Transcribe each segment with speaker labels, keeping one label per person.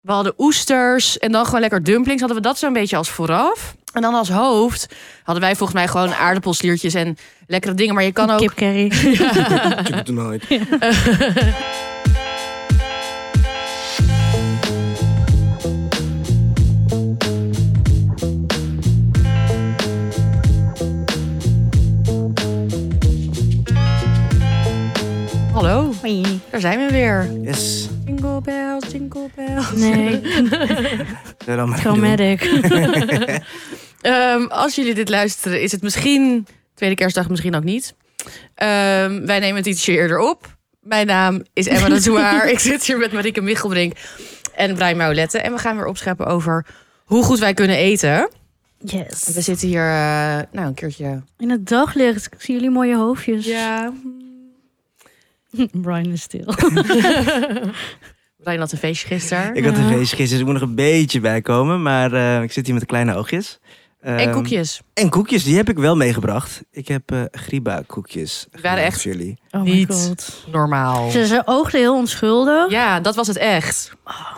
Speaker 1: We hadden oesters en dan gewoon lekker dumplings. Hadden we dat zo'n beetje als vooraf. En dan als hoofd hadden wij volgens mij gewoon aardappelsliertjes en lekkere dingen. Maar je kan ook...
Speaker 2: Kip curry.
Speaker 3: Chicken tonight.
Speaker 1: Hallo,
Speaker 2: Oei.
Speaker 1: daar zijn we weer.
Speaker 3: Yes.
Speaker 1: Jingle bells, jingle bells.
Speaker 2: Nee,
Speaker 3: Ja, dan maar doen.
Speaker 2: Chromatic.
Speaker 1: Ehm, als jullie dit luisteren, is het misschien tweede kerstdag, misschien ook niet. Ehm, wij nemen het ietsje eerder op. Mijn naam is Emma de Zwaar. Ik zit hier met Marieke Michelbrink en Brian Maulette. En we gaan weer opscheppen over hoe goed wij kunnen eten. We
Speaker 2: Yes.
Speaker 1: zitten hier eh, nou, een keertje.
Speaker 2: Dus In het daglicht. Ik zie jullie mooie hoofdjes. Brian is stil.
Speaker 1: Brian had een feestje gisteren.
Speaker 3: Ik had een
Speaker 2: Ja.
Speaker 3: feestje gisteren, dus ik moet nog een beetje bijkomen. Maar eh, ik zit hier met kleine oogjes.
Speaker 1: en
Speaker 3: Ehm,
Speaker 1: koekjes.
Speaker 3: En koekjes, die heb ik wel meegebracht. Ik heb eh Griba koekjes.
Speaker 1: Die waren echt-
Speaker 3: Voor jullie.
Speaker 2: Oh
Speaker 1: Niet.
Speaker 2: my god.
Speaker 1: Normaal.
Speaker 2: Ze, ze oogde heel onschuldig.
Speaker 1: Ja, dat was het echt.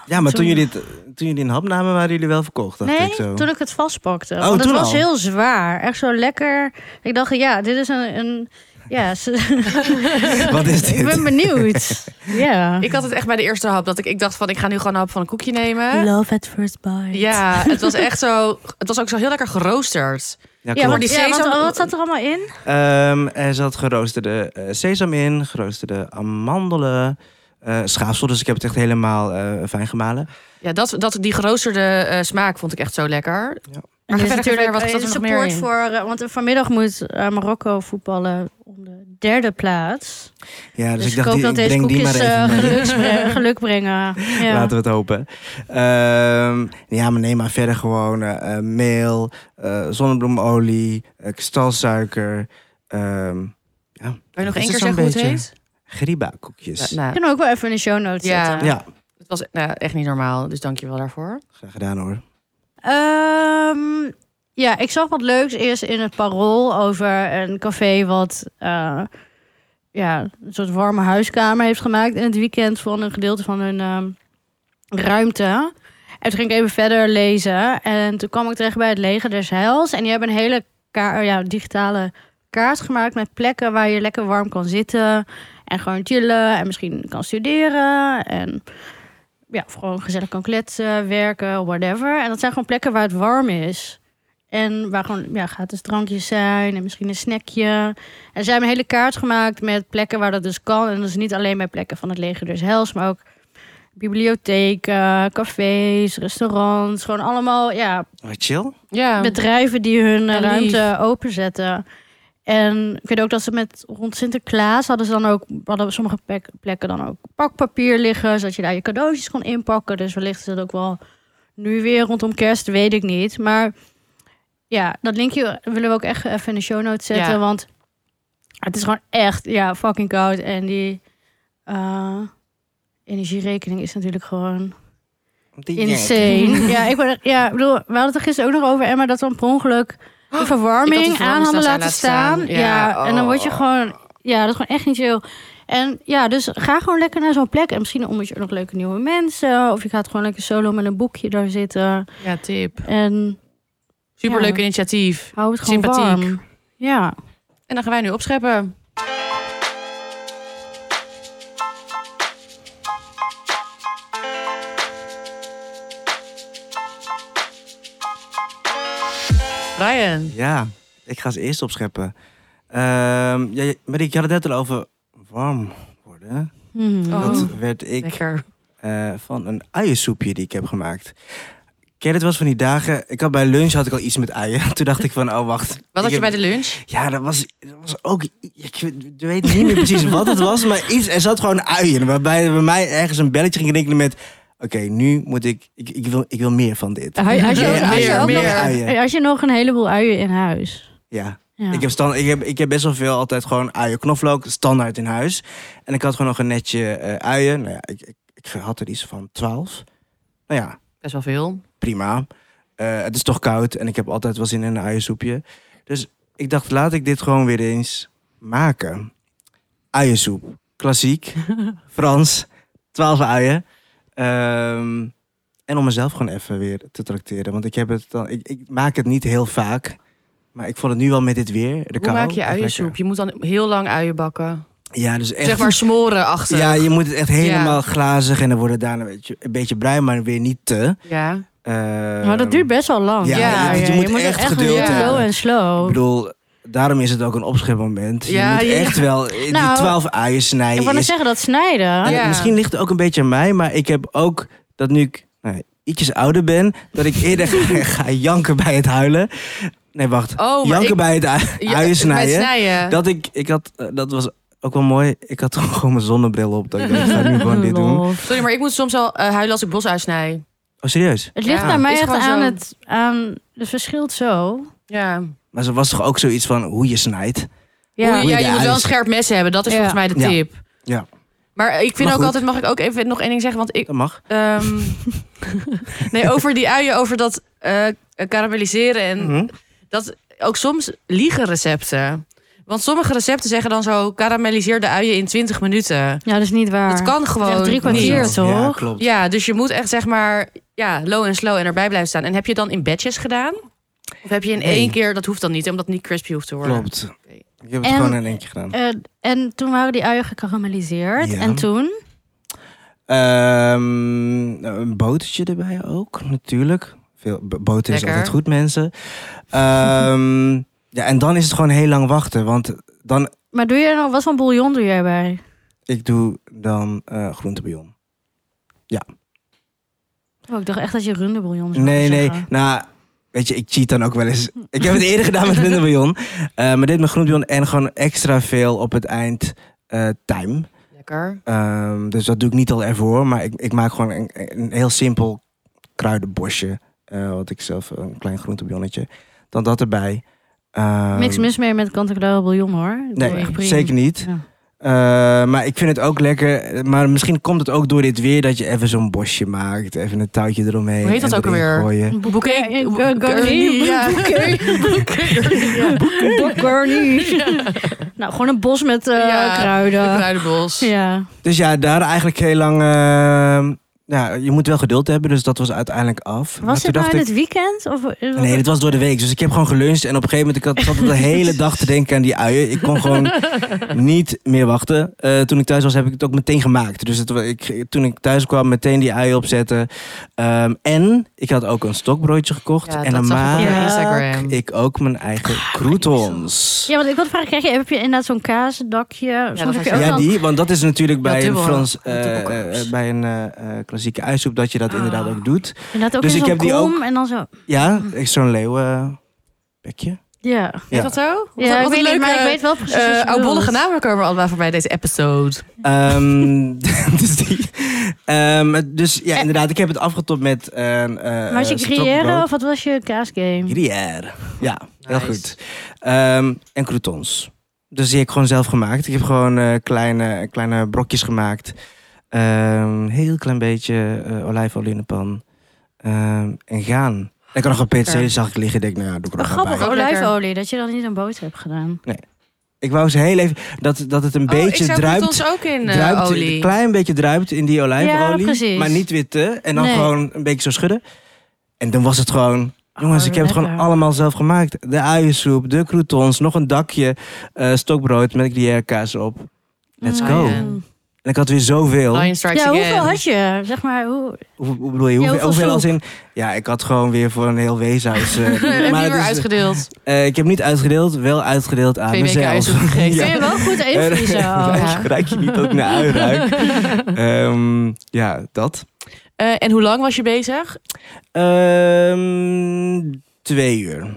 Speaker 3: Ja, maar toen
Speaker 2: Toen-
Speaker 3: jullie, het, toen jullie een hap namen, waren jullie wel verkocht, dacht
Speaker 2: Oh, nee,
Speaker 3: ik zo.
Speaker 2: toen ik het vastpakte.
Speaker 3: Oh,
Speaker 2: want het
Speaker 3: toen
Speaker 2: was
Speaker 3: al?
Speaker 2: heel zwaar. Echt zo lekker. Ik dacht, ja, dit is een... een ja, ze-
Speaker 3: Wat is dit?
Speaker 2: ik ben benieuwd. Ja.
Speaker 1: Ik had het echt bij de eerste hap. Dat ik, ik dacht van, ik ga nu gewoon een hap van een koekje nemen.
Speaker 2: Love at first bite.
Speaker 1: Ja, het was echt zo. Het was ook zo heel lekker geroosterd.
Speaker 3: Ja,
Speaker 2: Ja,
Speaker 3: klopt.
Speaker 2: want,
Speaker 1: die
Speaker 2: ja, want
Speaker 1: sesam-
Speaker 2: wat zat er allemaal in?
Speaker 3: Ehm, er zat geroosterde eh, sesam in, geroosterde amandelen, eh, schaafsel. Dus ik heb het echt helemaal eh, fijn gemalen.
Speaker 1: Ja, dat, dat, die geroosterde eh, smaak vond ik echt zo lekker.
Speaker 2: En
Speaker 1: ga verder, verder, wat
Speaker 2: eh,
Speaker 1: zat er nog
Speaker 2: support
Speaker 1: meer in?
Speaker 2: voor, eh, want vanmiddag moet eh, Marokko voetballen om de derde plaats.
Speaker 3: Ja, dus,
Speaker 2: Dus,
Speaker 3: ik
Speaker 2: ik
Speaker 3: dacht,
Speaker 2: hoop
Speaker 3: die,
Speaker 2: dat
Speaker 3: ik
Speaker 2: deze
Speaker 3: breng die maar
Speaker 2: koekjes
Speaker 3: even
Speaker 2: eh,
Speaker 3: mee.
Speaker 2: geluksbre- geluk brengen. Ja.
Speaker 3: Laten we het hopen. Ehm, ja, maar neem maar verder gewoon eh, eh, meel, eh, zonnebloemolie, eh, kristalsuiker. ehm ja,
Speaker 1: Kan je nog één keer
Speaker 3: Is het
Speaker 1: zeggen
Speaker 3: zo'n
Speaker 1: hoe het
Speaker 3: beetje?
Speaker 1: heet?
Speaker 3: Griba koekjes.
Speaker 1: Ja, nou,
Speaker 2: Kunnen we ook wel even in de show notes
Speaker 1: Ja.
Speaker 2: zetten.
Speaker 3: Ja,
Speaker 1: het was nou, echt niet normaal, dus dank je wel daarvoor.
Speaker 3: graag gedaan hoor.
Speaker 2: Ehm, ja, ik zag wat leuks eerst in het parool over een café wat eh, ja, een soort warme huiskamer heeft gemaakt in het weekend van een gedeelte van hun ehm, ruimte. En toen ging ik even verder lezen en toen kwam ik terecht bij het leger des Heils. En die hebben een hele ka- oh ja, digitale kaart gemaakt met plekken waar je lekker warm kan zitten. En gewoon chillen en misschien kan studeren en ja, of gewoon gezellig kan kletsen, werken, whatever. En dat zijn gewoon plekken waar het warm is. En waar gewoon ja, gratis drankjes zijn en misschien een snackje. En ze hebben een hele kaart gemaakt met plekken waar dat dus kan. En dat is niet alleen bij plekken van het leger dus hels, maar ook bibliotheken, cafés, restaurants. Gewoon allemaal ja,
Speaker 3: Wat chill.
Speaker 1: Ja,
Speaker 2: bedrijven die hun eh,
Speaker 1: En lief.
Speaker 2: ruimte openzetten. En ik weet ook dat ze met rond Sinterklaas hadden ze dan ook hadden sommige plek- plekken dan ook pakpapier liggen, zodat je daar je cadeautjes kon inpakken. Dus wellicht is dat ook wel nu weer rondom kerst, weet ik niet. Maar ja, dat linkje willen we ook echt even in de show notes zetten,
Speaker 1: Ja.
Speaker 2: want het is gewoon echt ja fucking koud en die eh, energierekening is natuurlijk gewoon
Speaker 3: Die
Speaker 2: Insane. Ja, ik, ben, ja, ik bedoel, we hadden het er gisteren ook nog over, Emma, dat we per ongeluk de
Speaker 1: ik had die
Speaker 2: verwarming
Speaker 1: verwarming
Speaker 2: aan hadden
Speaker 1: staan
Speaker 2: laten staan. Ja,
Speaker 1: Ja,
Speaker 2: en dan word je
Speaker 1: oh.
Speaker 2: gewoon, ja, dat is gewoon echt niet chill. En ja, dus ga gewoon lekker naar zo'n plek. En misschien ontmoet je ook nog leuke nieuwe mensen. Of je gaat gewoon lekker solo met een boekje daar zitten.
Speaker 1: ja tip.
Speaker 2: En
Speaker 1: Superleuk
Speaker 2: Ja.
Speaker 1: initiatief.
Speaker 2: hou het gewoon
Speaker 1: Sympathiek.
Speaker 2: warm. Ja.
Speaker 1: En dan gaan wij nu opscheppen. Brian.
Speaker 3: Ja, ik ga ze eerst opscheppen. Ehm ja, je- Marieke, je had het net al over warm worden.
Speaker 2: Hmm.
Speaker 1: Oh.
Speaker 3: Dat werd ik
Speaker 1: Lekker.
Speaker 3: eh, van een uiensoepje die ik heb gemaakt. Ken je het was van die dagen? Ik had bij lunch had ik al iets met uien. Toen dacht ik van, oh wacht.
Speaker 1: Wat had je
Speaker 3: ik
Speaker 1: bij
Speaker 3: heb-
Speaker 1: de lunch?
Speaker 3: Ja, dat was, dat was ook... Ik weet niet meer precies wat het was, maar iets, er zat gewoon uien. Waarbij bij mij ergens een belletje ging rinkelen met... Oké, nu moet ik, ik... Ik wil, ik wil meer van dit.
Speaker 2: Had je- had je
Speaker 3: Meer
Speaker 2: ook- had je
Speaker 3: uien,
Speaker 2: ook
Speaker 3: meer
Speaker 2: nog-
Speaker 3: uien.
Speaker 2: Als je nog een heleboel uien in huis.
Speaker 3: Ja.
Speaker 2: Ja.
Speaker 3: Ik, heb stand, ik, heb, ik heb best wel veel altijd gewoon uien. Knoflook, standaard in huis. En ik had gewoon nog een netje eh, uien. Nou ja, ik, ik, ik had er iets van 12. Nou ja,
Speaker 1: Best wel veel.
Speaker 3: prima. Eh, het is toch koud en ik heb altijd wel zin in een uiensoepje. Dus ik dacht, laat ik dit gewoon weer eens maken. Uiensoep. Klassiek. Frans. 12 uien. Ehm, En om mezelf gewoon even weer te tracteren. Want ik, heb het dan, ik, ik maak het niet heel vaak. Maar ik vond het nu wel met dit weer. De
Speaker 1: Hoe
Speaker 3: kou,
Speaker 1: maak je
Speaker 3: echt
Speaker 1: uiensoep? Je moet dan heel lang uien bakken.
Speaker 3: lekker. Ja, dus echt.
Speaker 1: Zeg maar smoren achter.
Speaker 3: ja, je moet het echt helemaal glazig. En dan wordt het daarna een beetje, een beetje bruin, maar weer niet te.
Speaker 1: Ja.
Speaker 2: Maar dat duurt best wel lang.
Speaker 3: ehm,
Speaker 1: ja,
Speaker 3: ja, je moet echt geduld
Speaker 2: heel
Speaker 1: hebben.
Speaker 2: low en
Speaker 3: Ik
Speaker 2: slow.
Speaker 3: bedoel, daarom is het ook een opschepmoment. Je
Speaker 1: Ja,
Speaker 3: moet
Speaker 1: ja.
Speaker 3: echt wel eh, die
Speaker 2: Nou,
Speaker 3: twaalf uien
Speaker 2: Ik
Speaker 3: snijden.
Speaker 2: wou net
Speaker 3: is-
Speaker 2: zeggen, dat snijden.
Speaker 3: en
Speaker 1: Ja.
Speaker 3: Misschien ligt het ook een beetje aan mij, maar ik heb ook dat nu ik nou, ietsjes ouder ben, dat ik eerder ga, ga janken bij het huilen. Nee, wacht.
Speaker 1: Oh, maar
Speaker 3: janken
Speaker 1: ik-
Speaker 3: bij het ui-
Speaker 1: Ja,
Speaker 3: uien
Speaker 1: bij
Speaker 3: snijden.
Speaker 1: snijden.
Speaker 3: Dat ik, ik had, eh, dat was ook wel mooi. Ik had toen gewoon mijn zonnebril op. Dat ik dacht, ik ga nu gewoon dit doen.
Speaker 2: Lol.
Speaker 1: Sorry, maar ik moet soms al eh, huilen als ik bos uitsnij.
Speaker 3: Oh, serieus?
Speaker 2: Het ligt
Speaker 1: Ja,
Speaker 2: naar mij
Speaker 1: is
Speaker 2: echt
Speaker 1: gewoon
Speaker 2: aan
Speaker 1: zo.
Speaker 2: het, aan het verschilt zo.
Speaker 1: Ja.
Speaker 3: Maar ze was toch ook zoiets van hoe je snijdt?
Speaker 1: Ja,
Speaker 3: Hoe je
Speaker 1: ja
Speaker 3: de
Speaker 1: je moet wel een
Speaker 3: uis-
Speaker 1: scherp mes hebben. Dat is
Speaker 2: Ja.
Speaker 1: volgens mij de
Speaker 3: Ja.
Speaker 1: tip.
Speaker 3: Ja.
Speaker 1: Maar ik vind
Speaker 3: Maar
Speaker 1: ook
Speaker 3: goed.
Speaker 1: altijd, mag ik ook even nog één ding zeggen? Want ik,
Speaker 3: Dat mag.
Speaker 1: ehm, nee, over die uien, over dat eh karamelliseren en
Speaker 3: Mhm.
Speaker 1: dat ook soms liegen recepten. Want sommige recepten zeggen dan zo karamelliseer de uien in 20 minuten.
Speaker 2: Ja, dat is niet waar.
Speaker 1: Dat kan gewoon.
Speaker 2: Echt drie
Speaker 1: niet.
Speaker 2: kwartier.
Speaker 3: Zo. Ja,
Speaker 2: toch?
Speaker 3: klopt.
Speaker 1: Ja, dus je moet echt zeg maar ja, low en slow en erbij blijven staan. En heb je dan in batches gedaan? Of heb je in
Speaker 3: Nee.
Speaker 1: één keer, dat hoeft dan niet, omdat het niet crispy hoeft te worden.
Speaker 3: Klopt. Ik heb het
Speaker 2: En-
Speaker 3: gewoon in eentje gedaan.
Speaker 2: Eh, en toen waren die uien gekarameliseerd.
Speaker 3: Ja.
Speaker 2: En toen?
Speaker 3: Ehm, een botertje erbij ook, natuurlijk. Veel, b- boter is
Speaker 1: Lekker.
Speaker 3: altijd goed, mensen. Ehm, ja, en dan is het gewoon heel lang wachten. Want dan,
Speaker 2: Maar doe je er nog, wat voor bouillon doe jij bij?
Speaker 3: ik doe dan eh groentebouillon.
Speaker 2: Oh, ik dacht echt dat je runderbouillon zou
Speaker 3: Nee, nee.
Speaker 2: zeggen.
Speaker 3: Nou, weet je, ik cheat dan ook wel eens. Ik heb het eerder gedaan met groentebouillon. Eh maar dit met groentebouillon en gewoon extra veel op het eind eh tijm.
Speaker 1: Lekker.
Speaker 3: Ehm, dus dat doe ik niet al ervoor. Maar ik, ik maak gewoon een, een heel simpel kruidenbosje. eh, wat ik zelf, een klein groentebouillonnetje. Dan dat erbij. Ehm,
Speaker 2: Niks mis meer met kant-en-klare bouillon hoor. Ik bedoel,
Speaker 3: Nee,
Speaker 2: echt prima.
Speaker 3: zeker niet.
Speaker 2: Ja.
Speaker 3: Eh, maar ik vind het ook lekker. Maar misschien komt het ook door dit weer dat je even zo'n bosje maakt. Even een touwtje eromheen.
Speaker 1: Hoe heet dat
Speaker 3: en
Speaker 1: ook
Speaker 3: erin
Speaker 1: alweer?
Speaker 3: gooien.
Speaker 1: Bouquet.
Speaker 2: Ja,
Speaker 1: bouquet-
Speaker 2: garnier.
Speaker 1: ja.
Speaker 2: Bob Garnier. Nou, gewoon een bos met eh,
Speaker 1: Ja,
Speaker 2: kruiden.
Speaker 1: De kruidenbos.
Speaker 2: Ja.
Speaker 3: Dus ja, daar eigenlijk heel lang. eh, ja, je moet wel geduld hebben. Dus dat was uiteindelijk af. Maar
Speaker 2: Was dit nou
Speaker 3: toen dacht
Speaker 2: in
Speaker 3: ik-
Speaker 2: het weekend? Of,
Speaker 3: Nee, dit was door de week. Dus ik heb gewoon geluncht. En op een gegeven moment, ik had zat de hele dag te denken aan die uien. Ik kon gewoon niet meer wachten. Eh, toen ik thuis was, heb ik het ook meteen gemaakt. Dus het, wa- ik, toen ik thuis kwam, meteen die uien opzetten. Ehm, en ik had ook een stokbroodje gekocht.
Speaker 1: Ja,
Speaker 3: en dan
Speaker 1: dat zag ik op
Speaker 3: maak
Speaker 1: mijn
Speaker 2: Ja.
Speaker 1: Instagram. Ah,
Speaker 3: ik ook mijn eigen croutons.
Speaker 2: Ja, want ik wilde vragen, krijg je, heb je inderdaad zo'n kaasdakje? Soms
Speaker 1: dat
Speaker 2: heb
Speaker 1: had
Speaker 2: je
Speaker 1: je
Speaker 2: ook
Speaker 1: ook.
Speaker 3: Ja,
Speaker 2: wel-
Speaker 3: die, want dat is natuurlijk
Speaker 1: Ja,
Speaker 3: bij een,
Speaker 1: dubbel,
Speaker 3: Frans,
Speaker 1: dubbel
Speaker 3: eh, eh,
Speaker 1: croutons.
Speaker 3: bij een eh, eh, klassieke uisoep dat je dat
Speaker 1: Ah.
Speaker 3: inderdaad ook doet.
Speaker 2: Inderdaad ook
Speaker 3: Dus
Speaker 2: in
Speaker 3: ik
Speaker 2: zo'n
Speaker 3: heb die
Speaker 2: kom en dan zo.
Speaker 3: Ja, zo'n leeuwenbekje.
Speaker 2: Ja,
Speaker 1: Is
Speaker 3: Ja.
Speaker 1: dat zo? Wat-
Speaker 2: ja ik
Speaker 1: wat
Speaker 2: weet
Speaker 1: een
Speaker 2: niet,
Speaker 1: leuke,
Speaker 2: maar ik weet wel precies wat
Speaker 1: eh
Speaker 2: je
Speaker 1: oudbollige
Speaker 2: bedoelt.
Speaker 1: namen komen allemaal voorbij deze episode.
Speaker 3: Ehm, dus die. Ehm, het- dus
Speaker 1: Eh.
Speaker 3: ja, inderdaad, ik heb het afgetopt met een. eh
Speaker 2: Maar was je grilleren of wat was je kaasgame?
Speaker 3: Gruyère. Ja, heel
Speaker 1: Nice.
Speaker 3: goed. Ehm, en croutons. Dus die heb ik gewoon zelf gemaakt. Ik heb gewoon eh, kleine, kleine brokjes gemaakt. Ehm heel klein beetje eh, olijfolie in de pan. Ehm, en gaan. Ik had nog een peterselie, zag ik liggen. Denk, nou ja, doe ik er
Speaker 2: Wat
Speaker 3: nog wat
Speaker 2: grappig,
Speaker 3: bij.
Speaker 1: Ook lekker.
Speaker 2: olijfolie, Oh, dat je dan niet een boter hebt gedaan.
Speaker 3: Ik wou ze heel even dat, dat het een beetje
Speaker 1: oh, ik zou
Speaker 3: druipt.
Speaker 1: ons ook in eh,
Speaker 3: druipt,
Speaker 1: olie.
Speaker 3: Een klein beetje druipt in die
Speaker 2: Ja,
Speaker 3: olijfolie.
Speaker 2: precies.
Speaker 3: maar niet weer te. En dan
Speaker 2: Nee.
Speaker 3: gewoon een beetje zo schudden. En dan was het gewoon... Jongens,
Speaker 2: Oh,
Speaker 3: ik heb het gewoon
Speaker 2: lekker.
Speaker 3: allemaal zelf gemaakt. De uiensoep, de croutons, nog een dakje eh, stokbrood met gruyère kaas op. Let's
Speaker 2: Mm.
Speaker 3: go.
Speaker 1: Ja.
Speaker 3: En ik had weer zoveel.
Speaker 1: Lion strikes
Speaker 2: Ja, hoeveel
Speaker 1: again.
Speaker 2: had je? Zeg maar, hoe...
Speaker 3: Hoe, hoe bedoel je? Hoeveel,
Speaker 2: hoeveel
Speaker 3: hoeveel als
Speaker 2: soep?
Speaker 3: in... Ja, ik had gewoon weer voor een heel weeshuis. eh,
Speaker 1: Heb je
Speaker 3: maar
Speaker 1: weer
Speaker 3: het is-
Speaker 1: uitgedeeld?
Speaker 3: eh, ik heb niet uitgedeeld, wel uitgedeeld aan
Speaker 1: Twee weken
Speaker 3: mezelf.
Speaker 1: ijs opgegeten.
Speaker 2: Kun je wel goed invriezen ook.
Speaker 1: Ja.
Speaker 3: Ruik je niet ook naar uiruik? Ehm, ja, dat.
Speaker 1: Eh, en hoe lang was je bezig?
Speaker 3: Ehm, twee uur.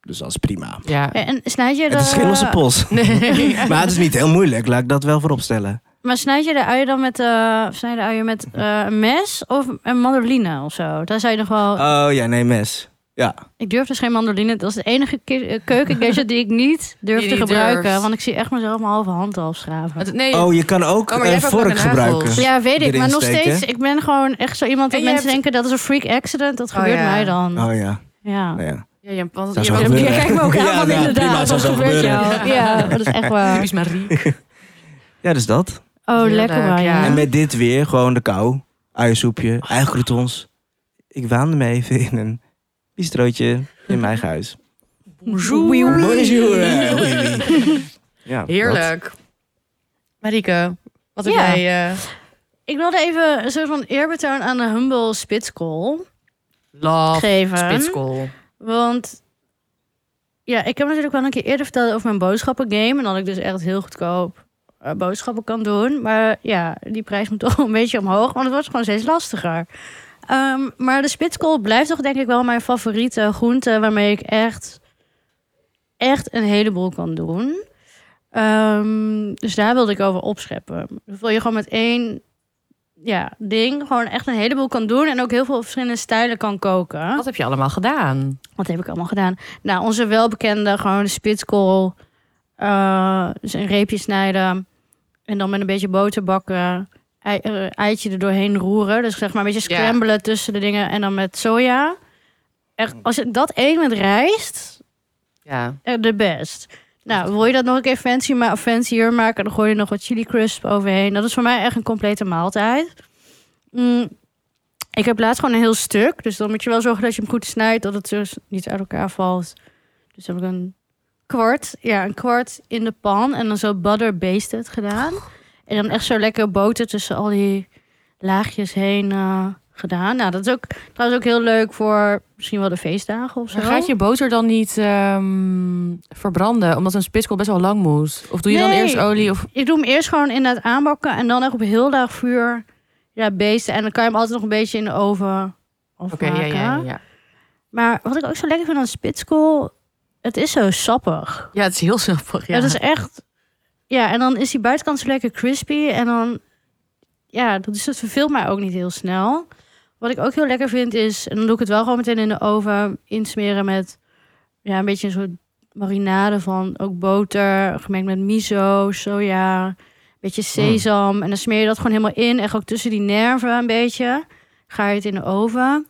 Speaker 3: Dus dat is prima.
Speaker 1: Ja.
Speaker 2: En snijd je eh, de...
Speaker 3: Het is
Speaker 1: eh,
Speaker 3: geen losse pols.
Speaker 1: Nee.
Speaker 3: Maar het is niet heel moeilijk, laat ik dat wel voorop stellen.
Speaker 2: Maar snijd je de uien dan met, eh, of snijd je de uien met eh, een mes of een mandoline of zo? Daar zou je nog wel...
Speaker 3: Oh ja, nee, mes. Ja.
Speaker 2: ik durf dus geen mandoline. Dat is de enige ki- eh, keukengadget die ik niet durf
Speaker 1: Die
Speaker 2: te
Speaker 1: je niet
Speaker 2: gebruiken.
Speaker 1: durft.
Speaker 2: Want ik zie echt mezelf mijn halve hand afschraven.
Speaker 1: Het- Nee,
Speaker 3: Oh, je kan ook
Speaker 1: Oh, maar
Speaker 3: een
Speaker 1: jij hebt ook
Speaker 3: vork
Speaker 1: lekker
Speaker 3: gebruiken.
Speaker 1: nagels.
Speaker 2: Ja, weet ik.
Speaker 3: Erin
Speaker 2: Maar nog
Speaker 3: steken.
Speaker 2: steeds, ik ben gewoon echt zo iemand dat
Speaker 1: En je
Speaker 2: mensen
Speaker 1: hebt-
Speaker 2: denken dat is een freak accident. Dat
Speaker 1: Oh,
Speaker 2: gebeurt
Speaker 1: ja.
Speaker 2: mij dan.
Speaker 3: Oh ja.
Speaker 2: Ja.
Speaker 3: Nou, ja.
Speaker 1: Ja, je, want,
Speaker 3: Dat
Speaker 1: je
Speaker 3: zou
Speaker 1: bent
Speaker 2: Jij
Speaker 3: gebeuren.
Speaker 2: kijkt me ook aan,
Speaker 3: Ja,
Speaker 2: want
Speaker 3: ja, prima,
Speaker 2: inderdaad,
Speaker 3: dat
Speaker 2: dat
Speaker 3: zou
Speaker 2: gebeurt jou.
Speaker 3: gebeuren.
Speaker 2: Ja, dat is echt waar.
Speaker 1: typisch Marie.
Speaker 3: ja, dus dat.
Speaker 2: Oh,
Speaker 1: Heerlijk,
Speaker 2: lekker man.
Speaker 1: ja.
Speaker 2: Ja.
Speaker 3: En met dit weer gewoon de kou. Uiensoepje, eigen croutons. ik waande me even in een bistrootje in mijn eigen huis.
Speaker 1: Bonjour.
Speaker 2: Oui, oui.
Speaker 3: Bonjour. eh, oui, oui. Ja,
Speaker 1: Heerlijk. Marieke, wat heb
Speaker 2: Ja.
Speaker 1: jij... eh,
Speaker 2: Ik wilde even een soort van eerbetoon aan de humble spitskool
Speaker 1: love,
Speaker 2: geven.
Speaker 1: spitskool.
Speaker 2: Want ja, ik heb natuurlijk wel een keer eerder verteld over mijn boodschappengame. En dat ik dus echt heel goedkoop eh, boodschappen kan doen. Maar ja, die prijs moet toch een beetje omhoog. Want het wordt gewoon steeds lastiger. Ehm, maar de spitskool blijft toch denk ik wel mijn favoriete groente. Waarmee ik echt, echt een heleboel kan doen. Ehm, dus daar wilde ik over opscheppen. Hoeveel je gewoon met één ja, ding gewoon echt een heleboel kan doen. En ook heel veel verschillende stijlen kan koken.
Speaker 1: Wat heb je allemaal gedaan?
Speaker 2: Wat heb ik allemaal gedaan? Nou, onze welbekende, gewoon de spitskool. eh, dus een reepje snijden. En dan met een beetje boter bakken. Ei, eh, eitje er doorheen roeren. Dus zeg maar een beetje
Speaker 1: Ja.
Speaker 2: scrambelen tussen de dingen. En dan met soja. Echt, als je dat één met rijst,
Speaker 1: Ja.
Speaker 2: eh, de best. Nou, wil je dat nog een keer fancy ma fancier maken, dan gooi je er nog wat chili crisp overheen. Dat is voor mij echt een complete maaltijd. Mm, ik heb laatst gewoon een heel stuk, dus dan moet je wel zorgen dat je hem goed snijdt, dat het dus niet uit elkaar valt. Dus heb ik een kwart, ja, een kwart in de pan en dan zo butter basted het gedaan. En dan echt zo lekker boter tussen al die laagjes heen eh, gedaan. Nou, dat is ook trouwens ook heel leuk voor misschien wel de feestdagen of zo.
Speaker 1: Maar gaat je boter dan niet ehm, verbranden? Omdat een spitskool best wel lang moet. Of doe je dan
Speaker 2: Nee.
Speaker 1: eerst olie? Of...
Speaker 2: Ik doe hem eerst gewoon in het aanbakken en dan echt op heel laag vuur ja, beesten. En dan kan je hem altijd nog een beetje in de oven
Speaker 1: Oké,
Speaker 2: afmaken.
Speaker 1: ja, ja, ja.
Speaker 2: Maar wat ik ook zo lekker vind aan spitskool, het is zo sappig.
Speaker 1: Ja, het is heel simpel. Ja.
Speaker 2: Het is echt... Ja, en dan is die buitenkant zo lekker crispy en dan... Ja, dat, is, dat verveelt mij ook niet heel snel. Wat ik ook heel lekker vind is, en dan doe ik het wel gewoon meteen in de oven, insmeren met ja, een beetje een soort marinade van ook boter, gemengd met miso, soja, een beetje sesam. En dan smeer je dat gewoon helemaal in, echt ook tussen die nerven een beetje. Ga je het in de oven.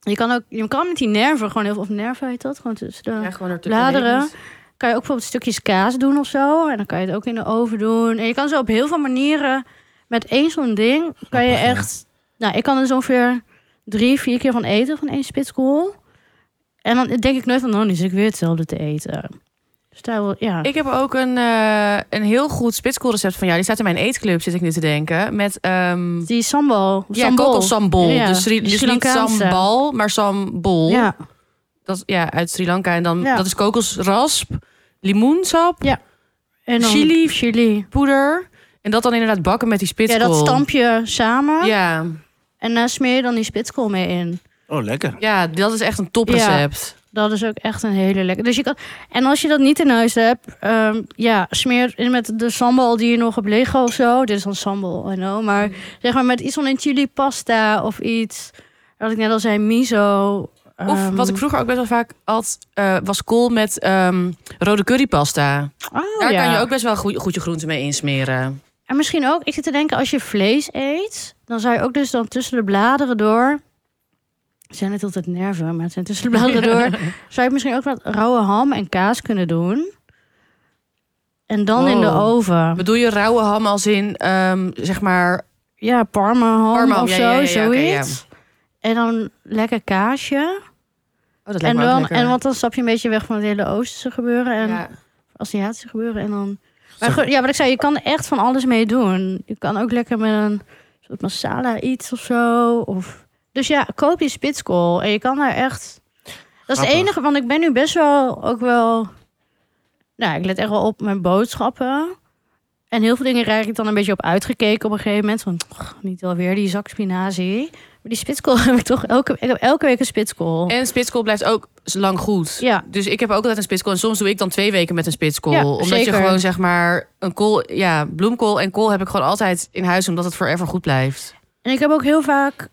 Speaker 2: Je kan ook, je kan met die nerven gewoon heel veel, of nerven heet dat, gewoon tussen de
Speaker 1: Ja, gewoon er
Speaker 2: bladeren.
Speaker 1: tussenin.
Speaker 2: kan je ook bijvoorbeeld stukjes kaas doen of zo. En dan kan je het ook in de oven doen. En je kan zo op heel veel manieren met één zo'n ding kan je
Speaker 3: Grappig, ja.
Speaker 2: echt. Nou, ik kan er dus ongeveer drie, vier keer van eten van één spitskool. En dan denk ik nooit van, nou, nu zit ik weer hetzelfde te eten. Dus daar wel, ja.
Speaker 1: Ik heb ook een, eh, een heel goed spitskoolrecept van jou. Die staat in mijn eetclub, zit ik nu te denken. Met ehm
Speaker 2: die sambal. Of
Speaker 1: ja,
Speaker 2: sambal.
Speaker 1: kokosambol.
Speaker 2: Ja,
Speaker 1: dus Sri-
Speaker 2: die
Speaker 1: dus
Speaker 2: Sri
Speaker 1: niet
Speaker 2: Lankaanse.
Speaker 1: sambal, maar sambol.
Speaker 2: Ja,
Speaker 1: Dat, is- ja, uit Sri Lanka. En dan,
Speaker 2: Ja.
Speaker 1: dat is kokosrasp, limoensap,
Speaker 2: Ja. en dan
Speaker 1: Chili.
Speaker 2: Chili.
Speaker 1: poeder. En dat dan inderdaad bakken met die
Speaker 2: Ja,
Speaker 1: spitskool.
Speaker 2: dat stamp je samen.
Speaker 1: Ja,
Speaker 2: En daar smeer je dan die spitskool mee in.
Speaker 3: Oh, lekker.
Speaker 1: ja, dat is echt een toprecept.
Speaker 2: Dat is ook echt een hele lekker. Dus je kan... En als je dat niet in huis hebt, ehm, ja, smeer het in met de sambal die je nog hebt liggen of zo. Dit is dan sambal, I know. Maar zeg maar met iets van een chili pasta of iets. Wat ik net al zei, miso.
Speaker 1: Of
Speaker 2: ehm,
Speaker 1: wat ik vroeger ook best wel vaak had, eh, was kool met ehm, rode currypasta.
Speaker 2: oh,
Speaker 1: Daar
Speaker 2: ja.
Speaker 1: kan je ook best wel goed, goed je groenten mee insmeren.
Speaker 2: En misschien ook, ik zit te denken, als je vlees eet, dan zou je ook dus dan tussen de bladeren door. Het zijn het altijd nerven, maar het zijn tussen de bladeren door. Zou je misschien ook wat rauwe ham en kaas kunnen doen? En dan in de
Speaker 1: Wow.
Speaker 2: oven.
Speaker 1: Bedoel je rauwe ham als in, ehm, zeg maar...
Speaker 2: Ja, parmaham
Speaker 1: Parmaham,
Speaker 2: of
Speaker 1: ja,
Speaker 2: zo,
Speaker 1: ja, ja, ja,
Speaker 2: zoiets. En dan lekker kaasje.
Speaker 1: Oh, dat
Speaker 2: En,
Speaker 1: lijkt me ook
Speaker 2: dan,
Speaker 1: lekker.
Speaker 2: en want dan stap je een beetje weg van het hele Oosterse gebeuren en
Speaker 1: Ja.
Speaker 2: Aziatische gebeuren. En dan...
Speaker 3: Zo.
Speaker 2: Maar goed, ja, wat ik zei, je kan er echt van alles mee doen. Je kan ook lekker met een soort masala iets of zo. Of... Dus ja, koop je spitskool. En je kan daar echt... Dat is het
Speaker 3: Grappig.
Speaker 2: enige, want ik ben nu best wel ook wel... Nou, ik let echt wel op mijn boodschappen. En heel veel dingen raak ik dan een beetje op uitgekeken op een gegeven moment. Van, "Och, niet alweer die zak spinazie. Maar die spitskool heb ik toch elke, ik heb elke week een spitskool.
Speaker 1: En spitskool blijft ook lang goed.
Speaker 2: Ja.
Speaker 1: Dus ik heb ook altijd een spitskool. En soms doe ik dan twee weken met een spitskool.
Speaker 2: Ja,
Speaker 1: omdat
Speaker 2: zeker.
Speaker 1: je gewoon zeg maar een kool... Ja, bloemkool en kool heb ik gewoon altijd in huis. Omdat het forever goed blijft.
Speaker 2: En ik heb ook heel vaak...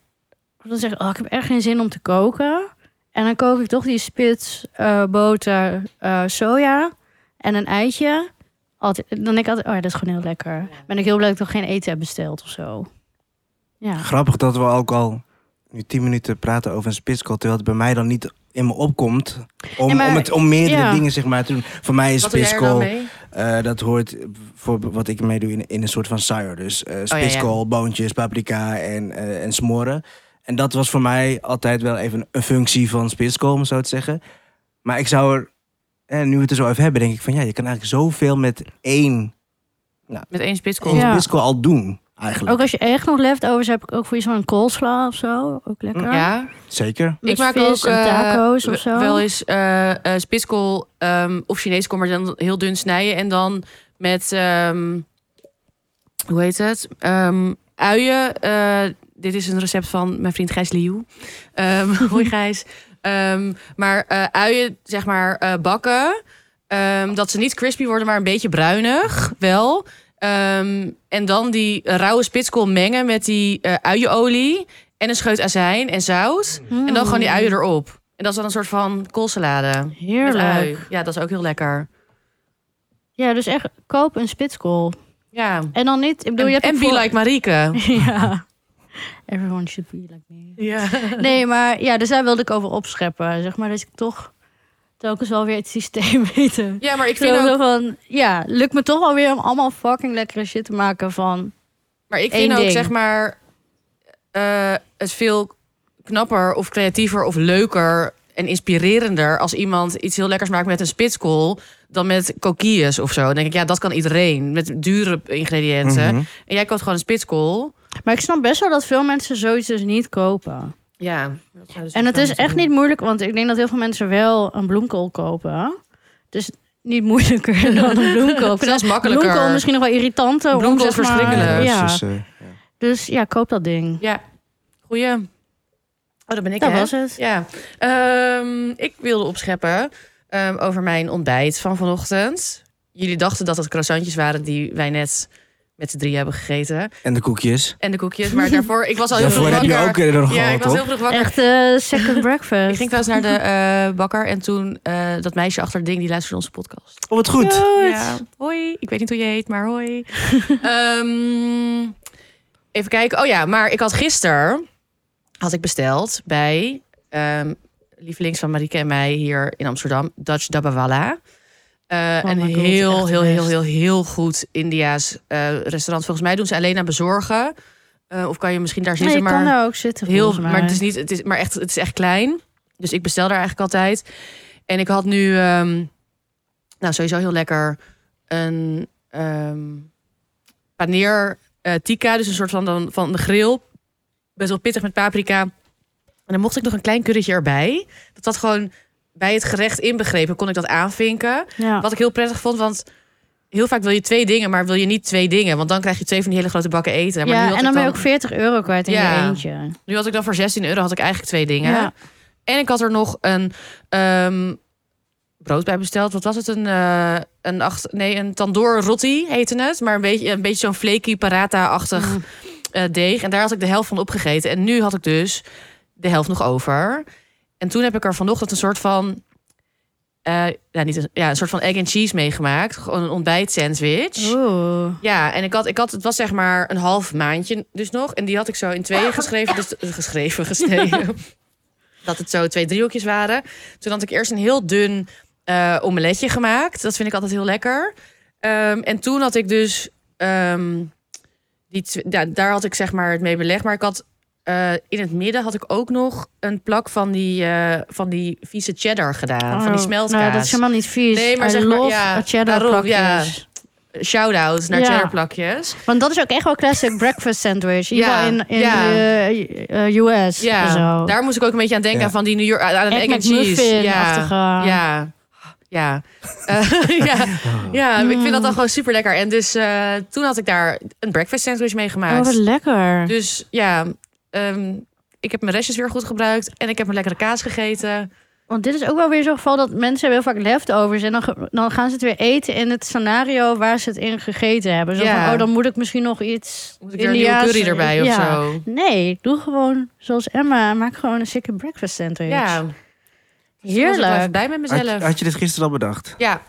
Speaker 2: Dan zeg ik, oh, ik heb echt geen zin om te koken. En dan kook ik toch die spits, eh, boter, eh, soja en een eitje. Altijd, dan denk ik altijd, oh ja, dat is gewoon heel lekker. Ben ik heel blij dat ik toch geen eten heb besteld of zo. Ja.
Speaker 3: Grappig dat we ook al nu tien minuten praten over een spitskool... terwijl het bij mij dan niet in me opkomt om,
Speaker 2: Nee, maar-
Speaker 3: om, het, om meerdere
Speaker 2: ja.
Speaker 3: dingen zeg maar, te doen. Voor mij is
Speaker 1: Wat doe jij er dan
Speaker 3: spitskool...
Speaker 1: mee?
Speaker 3: Eh, dat hoort voor wat ik
Speaker 1: Oh,
Speaker 3: meedoe in, in een soort van sour. Dus eh spitskool, boontjes, paprika en, eh, en smoren. En dat was voor mij altijd wel even een functie van spitskool, om zo te zeggen. Maar ik zou er, en nu we het er zo even hebben, denk ik van ja, je kan eigenlijk zoveel met één
Speaker 1: Met één spitskool.
Speaker 3: één
Speaker 2: Ja.
Speaker 3: spitskool al doen. Eigenlijk.
Speaker 2: Ook als je echt nog leftovers hebt, heb ik ook voor je zo'n coleslaw of zo. Ook lekker.
Speaker 1: ja.
Speaker 3: Zeker.
Speaker 2: Met
Speaker 1: ik maak
Speaker 2: vis
Speaker 1: ook
Speaker 2: en
Speaker 1: eh,
Speaker 2: taco's of zo.
Speaker 1: Wel eens eh eh spitskool ehm, of Chinees kom maar dan heel dun snijden en dan met ehm, hoe heet het? Ehm, uien. eh, dit is een recept van mijn vriend Gijs Liu. Ehm, hoi Gijs. Ehm, maar eh, uien zeg maar eh, bakken. Ehm, dat ze niet crispy worden, maar een beetje bruinig wel. Ehm, en dan die rauwe spitskool mengen met die eh, uienolie en een scheut azijn en zout.
Speaker 2: Mm.
Speaker 1: En dan gewoon die uien erop. En dat is dan een soort van koolsalade. Met ui.
Speaker 2: Heerlijk.
Speaker 1: Ja, dat is ook heel lekker.
Speaker 2: Ja, dus echt koop een spitskool.
Speaker 1: Ja.
Speaker 2: En dan niet. Ik bedoel, je
Speaker 1: en
Speaker 2: hebt
Speaker 1: en
Speaker 2: ook
Speaker 1: be
Speaker 2: voor-
Speaker 1: like Marieke.
Speaker 2: ja. Everyone should be like me.
Speaker 1: Ja.
Speaker 2: Nee, maar ja, dus daar wilde ik over opscheppen. Zeg maar dat ik toch telkens wel weer het systeem weten.
Speaker 1: ja, maar ik
Speaker 2: Ik
Speaker 1: vind ook...
Speaker 2: van, ja, lukt me toch wel weer om allemaal fucking lekkere shit te maken van.
Speaker 1: Maar ik
Speaker 2: Eén
Speaker 1: vind ook,
Speaker 2: ding.
Speaker 1: zeg maar, eh, het veel knapper of creatiever of leuker en inspirerender als iemand iets heel lekkers maakt met een spitskool dan met coquilles of zo. Dan denk ik, ja, dat kan iedereen met dure ingrediënten.
Speaker 3: Mhm.
Speaker 1: En jij koopt gewoon een spitskool.
Speaker 2: Maar ik snap best wel dat veel mensen zoiets dus niet kopen.
Speaker 1: Ja.
Speaker 2: En het is echt niet moeilijk, want ik denk dat heel veel mensen wel een bloemkool kopen. Dus niet moeilijker dan een bloemkool.
Speaker 1: Zelfs makkelijker.
Speaker 2: Bloemkool misschien nog wel irritanter. om,
Speaker 1: Bloemkool is
Speaker 2: zeg maar-
Speaker 1: verschrikkelijk.
Speaker 3: dus,
Speaker 2: Ja,
Speaker 3: eh, ja.
Speaker 2: dus ja, koop dat ding.
Speaker 1: Ja. Goeie. Oh, dat ben ik,
Speaker 2: Dat
Speaker 1: hè?
Speaker 2: was het.
Speaker 1: Ja, Ehm, ik wilde opscheppen ehm, over mijn ontbijt van vanochtend. Jullie dachten dat het croissantjes waren die wij net met z'n drie hebben gegeten.
Speaker 3: En de koekjes.
Speaker 1: En de koekjes, maar daarvoor... Ik was al heel
Speaker 3: Daarvoor
Speaker 1: vroeg
Speaker 3: heb
Speaker 1: wakker.
Speaker 3: je ook eh, nog
Speaker 1: ja,
Speaker 3: gehad,
Speaker 1: ik was heel
Speaker 3: toch?
Speaker 1: vroeg wakker.
Speaker 2: Echt eh, second breakfast.
Speaker 1: Ik ging trouwens naar de eh, bakker en toen eh, dat meisje achter het ding, die luisterde onze podcast.
Speaker 3: Oh, wat goed.
Speaker 1: Ja, hoi. Ik weet niet hoe je heet, maar hoi. Ehm, even kijken. Oh ja, maar ik had gisteren had ik besteld bij ehm, lievelings van Marieke en mij hier in Amsterdam, Dutch Dabawala. Eh,
Speaker 2: Oh
Speaker 1: een
Speaker 2: my God,
Speaker 1: heel,
Speaker 2: echt
Speaker 1: heel,
Speaker 2: best.
Speaker 1: heel, heel, heel goed Indiaas eh, restaurant. Volgens mij doen ze alleen aan bezorgen. Eh, of kan je misschien daar
Speaker 2: Nee,
Speaker 1: zitten,
Speaker 2: je
Speaker 1: maar
Speaker 2: kan daar ook zitten.
Speaker 1: heel,
Speaker 2: volgens mij.
Speaker 1: maar het is niet, het is maar echt, het is echt klein. Dus ik bestel daar eigenlijk altijd. En ik had nu, ehm, nou sowieso heel lekker een ehm paneer eh, tikka, dus een soort van dan van de grill, best wel pittig met paprika. En dan mocht ik nog een klein currytje erbij. Dat dat gewoon bij het gerecht inbegrepen kon ik dat aanvinken.
Speaker 2: Ja.
Speaker 1: Wat ik heel prettig vond, want heel vaak wil je twee dingen, maar wil je niet twee dingen, want dan krijg je twee van die hele grote bakken eten. Maar nu
Speaker 2: ja,
Speaker 1: had
Speaker 2: en
Speaker 1: ik
Speaker 2: dan ben je ook 40 euro kwijt in
Speaker 1: Ja.
Speaker 2: je eentje.
Speaker 1: nu had ik dan voor 16 euro had ik eigenlijk twee dingen.
Speaker 2: Ja.
Speaker 1: En ik had er nog een ehm, brood bij besteld. Wat was het? Een, eh, een, acht, nee, een tandoor roti heette het. Maar een beetje, een beetje zo'n flaky paratha-achtig
Speaker 2: Mm.
Speaker 1: eh, deeg. En daar had ik de helft van opgegeten. En nu had ik dus de helft nog over. En toen heb ik er vanochtend een soort van... eh, nou, niet een, ja, een soort van egg and cheese meegemaakt. Gewoon een ontbijt sandwich.
Speaker 2: Oeh.
Speaker 1: Ja, en ik had, ik had, het was zeg maar een half maandje dus nog. En die had ik zo in tweeën geschreven. Dus, eh, geschreven, gesneden. dat het zo twee driehoekjes waren. Toen had ik eerst een heel dun eh, omeletje gemaakt. Dat vind ik altijd heel lekker. Ehm, en toen had ik dus... ehm, die tw- ja, daar had ik zeg maar het mee belegd. Maar ik had eh, in het midden had ik ook nog een plak van die, eh, van die vieze cheddar gedaan. van die
Speaker 2: Oh,
Speaker 1: smeltkaas.
Speaker 2: Nou, dat is helemaal niet vies.
Speaker 1: Nee, maar
Speaker 2: I
Speaker 1: zeg maar,
Speaker 2: love
Speaker 1: ja,
Speaker 2: a cheddar
Speaker 1: daarom, ja.
Speaker 2: plakjes.
Speaker 1: Shout-out naar
Speaker 2: Ja.
Speaker 1: cheddar plakjes.
Speaker 2: dus. Want dat is ook echt wel classic breakfast sandwich. In ieder
Speaker 1: Ja,
Speaker 2: geval in, in
Speaker 1: ja.
Speaker 2: de eh, US en
Speaker 1: Ja,
Speaker 2: zo.
Speaker 1: daar moest ik ook een beetje aan denken
Speaker 3: Ja.
Speaker 1: van die New York aan een
Speaker 2: Egg
Speaker 1: egg and cheese.
Speaker 2: McMuffin-achtige.
Speaker 1: Ja, ja, ja. Eh, ja,
Speaker 2: Oh.
Speaker 1: ja. Ik vind
Speaker 2: Mm.
Speaker 1: dat dan gewoon super lekker. En dus eh, toen had ik daar een breakfast sandwich mee
Speaker 2: Oh,
Speaker 1: gemaakt.
Speaker 2: wat lekker.
Speaker 1: dus ja, ehm, ik heb mijn restjes weer goed gebruikt en ik heb een lekkere kaas gegeten.
Speaker 2: Want dit is ook wel weer zo'n geval dat mensen hebben heel vaak leftovers. En dan, ge- dan gaan ze het weer eten in het scenario waar ze het in gegeten hebben. Zo
Speaker 1: Ja.
Speaker 2: van, oh, dan moet ik misschien nog iets
Speaker 1: Moet ik weer een nieuwe
Speaker 2: Indiaas-
Speaker 1: curry erbij of
Speaker 2: Ja.
Speaker 1: zo?
Speaker 2: Nee, doe gewoon zoals Emma. en Maak gewoon een sikke breakfast sandwich.
Speaker 1: Ja, Ik was ook wel
Speaker 2: Heerlijk.
Speaker 1: even blij met
Speaker 3: Had,
Speaker 1: mezelf.
Speaker 3: je- had je dit gisteren al bedacht?
Speaker 1: Ja,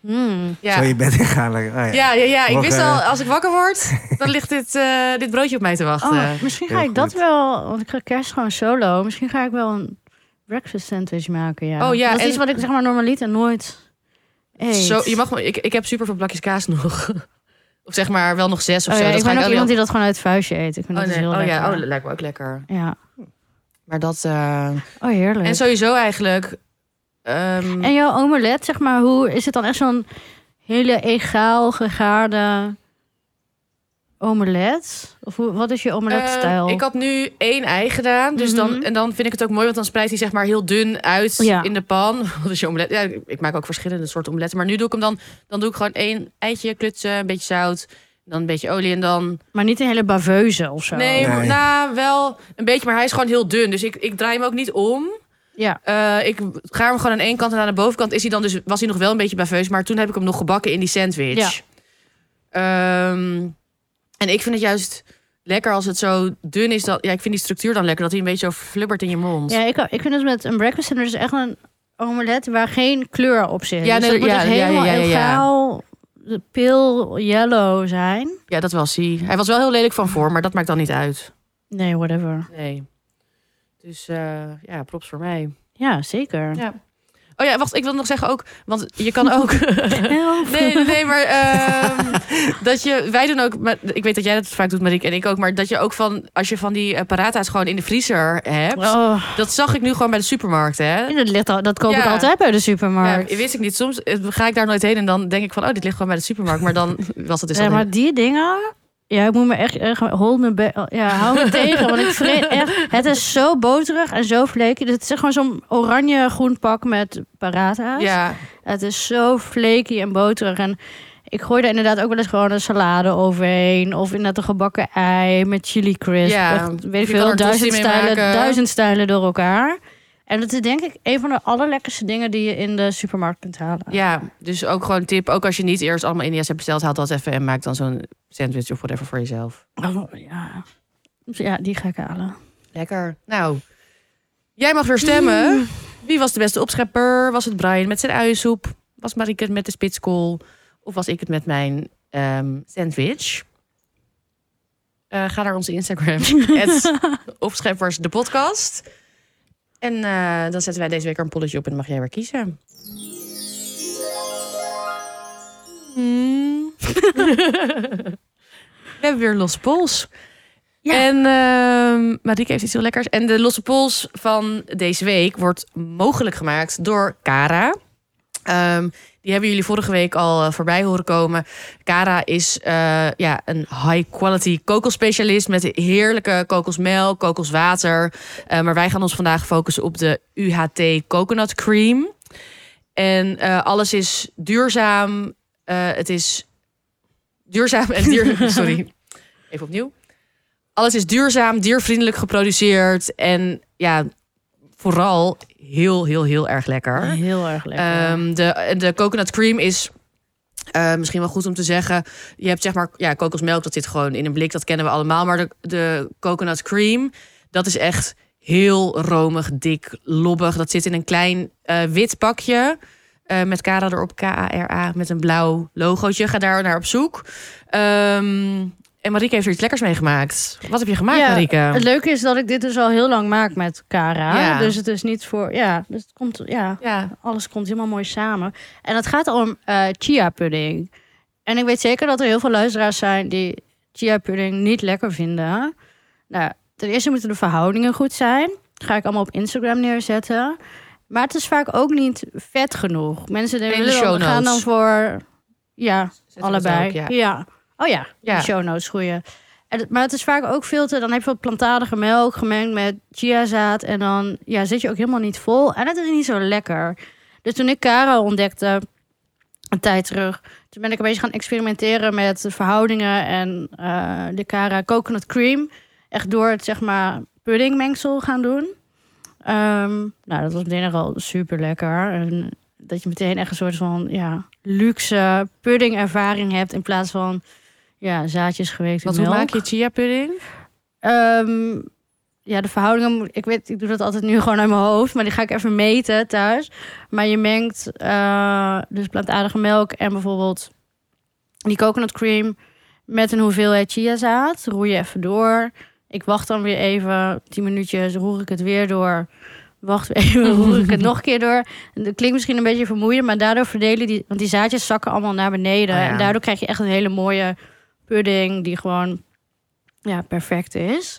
Speaker 2: Mm.
Speaker 1: ja.
Speaker 3: Zo je bed ingaan. Like, oh, ja.
Speaker 1: Ja, ja, ja, ik
Speaker 3: Morgen-
Speaker 1: wist al, als ik wakker word, dan ligt dit, eh, dit broodje op mij te wachten.
Speaker 2: Oh, misschien ga
Speaker 3: Heel
Speaker 2: ik dat
Speaker 3: goed.
Speaker 2: wel, want ik ga kerst gewoon solo. Misschien ga ik wel een breakfast sandwich maken, ja.
Speaker 1: Oh, ja,
Speaker 2: Dat is
Speaker 1: en-
Speaker 2: iets wat ik zeg maar normaliter nooit eet.
Speaker 1: Zo, je mag, me- ik, ik heb super veel blakjes kaas nog. Of zeg maar wel nog zes of
Speaker 2: Oh
Speaker 1: zo.
Speaker 2: ja,
Speaker 1: dat
Speaker 2: ik
Speaker 1: ga
Speaker 2: ben ook
Speaker 1: alleen
Speaker 2: iemand
Speaker 1: op-
Speaker 2: die dat gewoon uit het vuistje eet. Ik vind
Speaker 1: Oh,
Speaker 2: dat
Speaker 1: nee.
Speaker 2: dus heel
Speaker 1: oh ja,
Speaker 2: lekker.
Speaker 1: oh, dat lijkt me ook lekker.
Speaker 2: ja.
Speaker 1: Maar dat... eh,
Speaker 2: Oh, heerlijk.
Speaker 1: En sowieso eigenlijk... ehm,
Speaker 2: En jouw omelet, zeg maar, hoe is het dan echt zo'n hele egaal gegaarde omelet? Of hoe, wat is je omeletstijl?
Speaker 1: Eh, ik had nu één ei gedaan. Dus dan,
Speaker 2: Mhm.
Speaker 1: en dan vind ik het ook mooi, want dan spreidt hij zeg maar heel dun uit
Speaker 2: Ja.
Speaker 1: in de pan. Dus je omelet. Ja, ik- ik maak ook verschillende soorten omeletten. Maar nu doe ik hem dan. Dan doe ik gewoon één eitje klutsen, een beetje zout. Dan een beetje olie en dan.
Speaker 2: Maar niet een hele baveuze of zo.
Speaker 1: Nee, maar-
Speaker 3: Nee.
Speaker 1: nou wel een beetje, maar hij is gewoon heel dun. Dus ik, ik draai hem ook niet om.
Speaker 2: Ja.
Speaker 1: Eh, ik ga hem gewoon aan één kant en aan de bovenkant is hij dan dus, was hij nog wel een beetje baveus. Maar toen heb ik hem nog gebakken in die sandwich. Ehm, en ik vind het juist lekker als het zo dun is. Dat, ja, ik vind die structuur dan lekker. Dat hij een beetje zo flubbert in je mond.
Speaker 2: Ja, ik, ik vind het met een breakfast sandwich echt een omelet waar geen kleur op zit.
Speaker 1: Ja,
Speaker 2: Ja, dus
Speaker 1: nee,
Speaker 2: dat moet
Speaker 1: ja,
Speaker 2: dus
Speaker 1: ja, ja,
Speaker 2: helemaal
Speaker 1: ja, ja, ja.
Speaker 2: egaal, pale yellow zijn.
Speaker 1: Ja, dat was hij. Hij was wel heel lelijk van vorm, maar dat maakt dan niet uit.
Speaker 2: Nee, whatever.
Speaker 1: Nee. Dus eh, ja, props voor mij.
Speaker 2: Ja, zeker.
Speaker 1: Ja. Oh ja, wacht, ik wil nog zeggen ook, want je kan ook...
Speaker 2: Help.
Speaker 1: Nee, nee, nee, maar ehm, dat je, wij doen ook, maar ik weet dat jij dat vaak doet, Marieke en ik ook, maar dat je ook van, als je van die eh, parata's gewoon in de vriezer hebt,
Speaker 2: Oh,
Speaker 1: dat zag ik nu gewoon bij de supermarkt, hè?
Speaker 2: dat, ligt al, dat koop ik
Speaker 1: Ja.
Speaker 2: altijd bij de
Speaker 1: Ja,
Speaker 2: supermarkt.
Speaker 1: wist ik niet. Soms eh, ga ik daar nooit heen en dan denk ik van, oh, dit ligt gewoon bij de supermarkt, maar dan was het dus
Speaker 2: ja,
Speaker 1: al-
Speaker 2: maar die dingen. Ja, ik moet me echt. echt hold me be- oh, ja, hou me tegen. Want ik vrees echt. Het is zo boterig en zo flaky. Het is gewoon zo'n oranje-groen pak met parata's.
Speaker 1: Ja,
Speaker 2: Het is zo flaky en boterig. En ik gooi er inderdaad ook wel eens gewoon een salade overheen. Of inderdaad een gebakken ei met chili crisp.
Speaker 1: Ja,
Speaker 2: Echt,
Speaker 1: je
Speaker 2: weet ik
Speaker 1: kan er
Speaker 2: veel,
Speaker 1: een
Speaker 2: duizend
Speaker 1: tosti mee
Speaker 2: stijlen,
Speaker 1: maken.
Speaker 2: duizend stijlen door elkaar. En dat is denk ik een van de allerlekkerste dingen die je in de supermarkt kunt halen.
Speaker 1: ja, dus ook gewoon een tip, ook als je niet eerst allemaal India's hebt besteld, haal dat even en maak dan zo'n sandwich of whatever voor jezelf.
Speaker 2: Oh, ja. Dus ja, die ga ik halen.
Speaker 1: Lekker. Nou, jij mag weer stemmen. Wie was de beste opschepper? Was het Brian met zijn uiensoep? Was Marieke het met de spitskool? Of was ik het met mijn ehm, sandwich? Eh, ga naar onze Instagram. Het opscheppers de podcast. En eh, dan zetten wij deze week er een polletje op en dan mag jij weer kiezen. Hmm. We hebben weer losse pols.
Speaker 2: Ja.
Speaker 1: En ehm Marieke heeft iets heel lekkers. En de losse pols van deze week wordt mogelijk gemaakt door Cara. Ehm, die hebben jullie vorige week al eh, voorbij horen komen. Cara is eh, ja, een high-quality kokelspecialist met heerlijke kokosmelk, kokoswater. Eh, maar wij gaan ons vandaag focussen op de UHT Coconut Cream. En eh, alles is duurzaam. Eh, het is duurzaam en duur. Sorry, even opnieuw. Alles is duurzaam, diervriendelijk geproduceerd. En ja, vooral heel, heel, heel erg lekker.
Speaker 2: Heel erg lekker.
Speaker 1: Ehm, de, de coconut cream is eh, misschien wel goed om te zeggen. Je hebt zeg maar, ja, kokosmelk, dat zit gewoon in een blik, dat kennen we allemaal. Maar de, de coconut cream, dat is echt heel romig, dik, lobbig. Dat zit in een klein eh, wit pakje. eh, met Kara erop, K-A-R-A, met een blauw logootje. Ga daar naar op zoek. Ehm, en Marieke heeft er iets lekkers mee gemaakt. Wat heb je gemaakt,
Speaker 2: Ja,
Speaker 1: Marieke?
Speaker 2: Het leuke is dat ik dit dus al heel lang maak met Cara.
Speaker 1: Ja.
Speaker 2: Dus het is niet voor. Ja, dus het komt. Ja,
Speaker 1: Ja,
Speaker 2: alles komt helemaal mooi samen. En het gaat om eh chia pudding. En ik weet zeker dat er heel veel luisteraars zijn die chia pudding niet lekker vinden. Nou, ten eerste moeten de verhoudingen goed zijn. Dat ga ik allemaal op Instagram neerzetten. Maar het is vaak ook niet vet genoeg. Mensen
Speaker 1: de
Speaker 2: willen dan-
Speaker 1: show notes.
Speaker 2: gaan dan voor ja,
Speaker 1: Zetten we
Speaker 2: allebei.
Speaker 1: dat ook, ja.
Speaker 2: Oh ja,
Speaker 1: Ja.
Speaker 2: de show notes goeie. En, het- maar het is vaak ook veel te... Dan heb je wat plantaardige melk gemengd met chiazaad. En dan ja, zit je ook helemaal niet vol. En het is niet zo lekker. Dus toen ik Kara ontdekte, een tijd terug... Toen ben ik een beetje gaan experimenteren met de verhoudingen. En eh, de Kara coconut cream. Echt door het, zeg maar, puddingmengsel gaan doen. Ehm, nou, dat was meteen nog al super lekker. En dat je meteen echt een soort van ja, luxe puddingervaring hebt. In plaats van ja, zaadjes geweekte
Speaker 1: wat hoe
Speaker 2: melk.
Speaker 1: maak je chia pudding?
Speaker 2: Ehm, ja, de verhoudingen. moet- Ik weet, ik doe dat altijd nu gewoon uit mijn hoofd. Maar die ga ik even meten thuis. Maar je mengt eh, dus plantaardige melk en bijvoorbeeld die coconut cream met een hoeveelheid chiazaad. Roer je even door. Ik wacht dan weer even 10 minuutjes. Roer ik het weer door. Wacht weer even, roer ik het nog een keer door. En Dat klinkt misschien een beetje vermoeiend, maar daardoor verdelen die... Want die zaadjes zakken allemaal naar beneden.
Speaker 1: Oh ja.
Speaker 2: En daardoor krijg je echt een hele mooie pudding die gewoon ja, perfect is.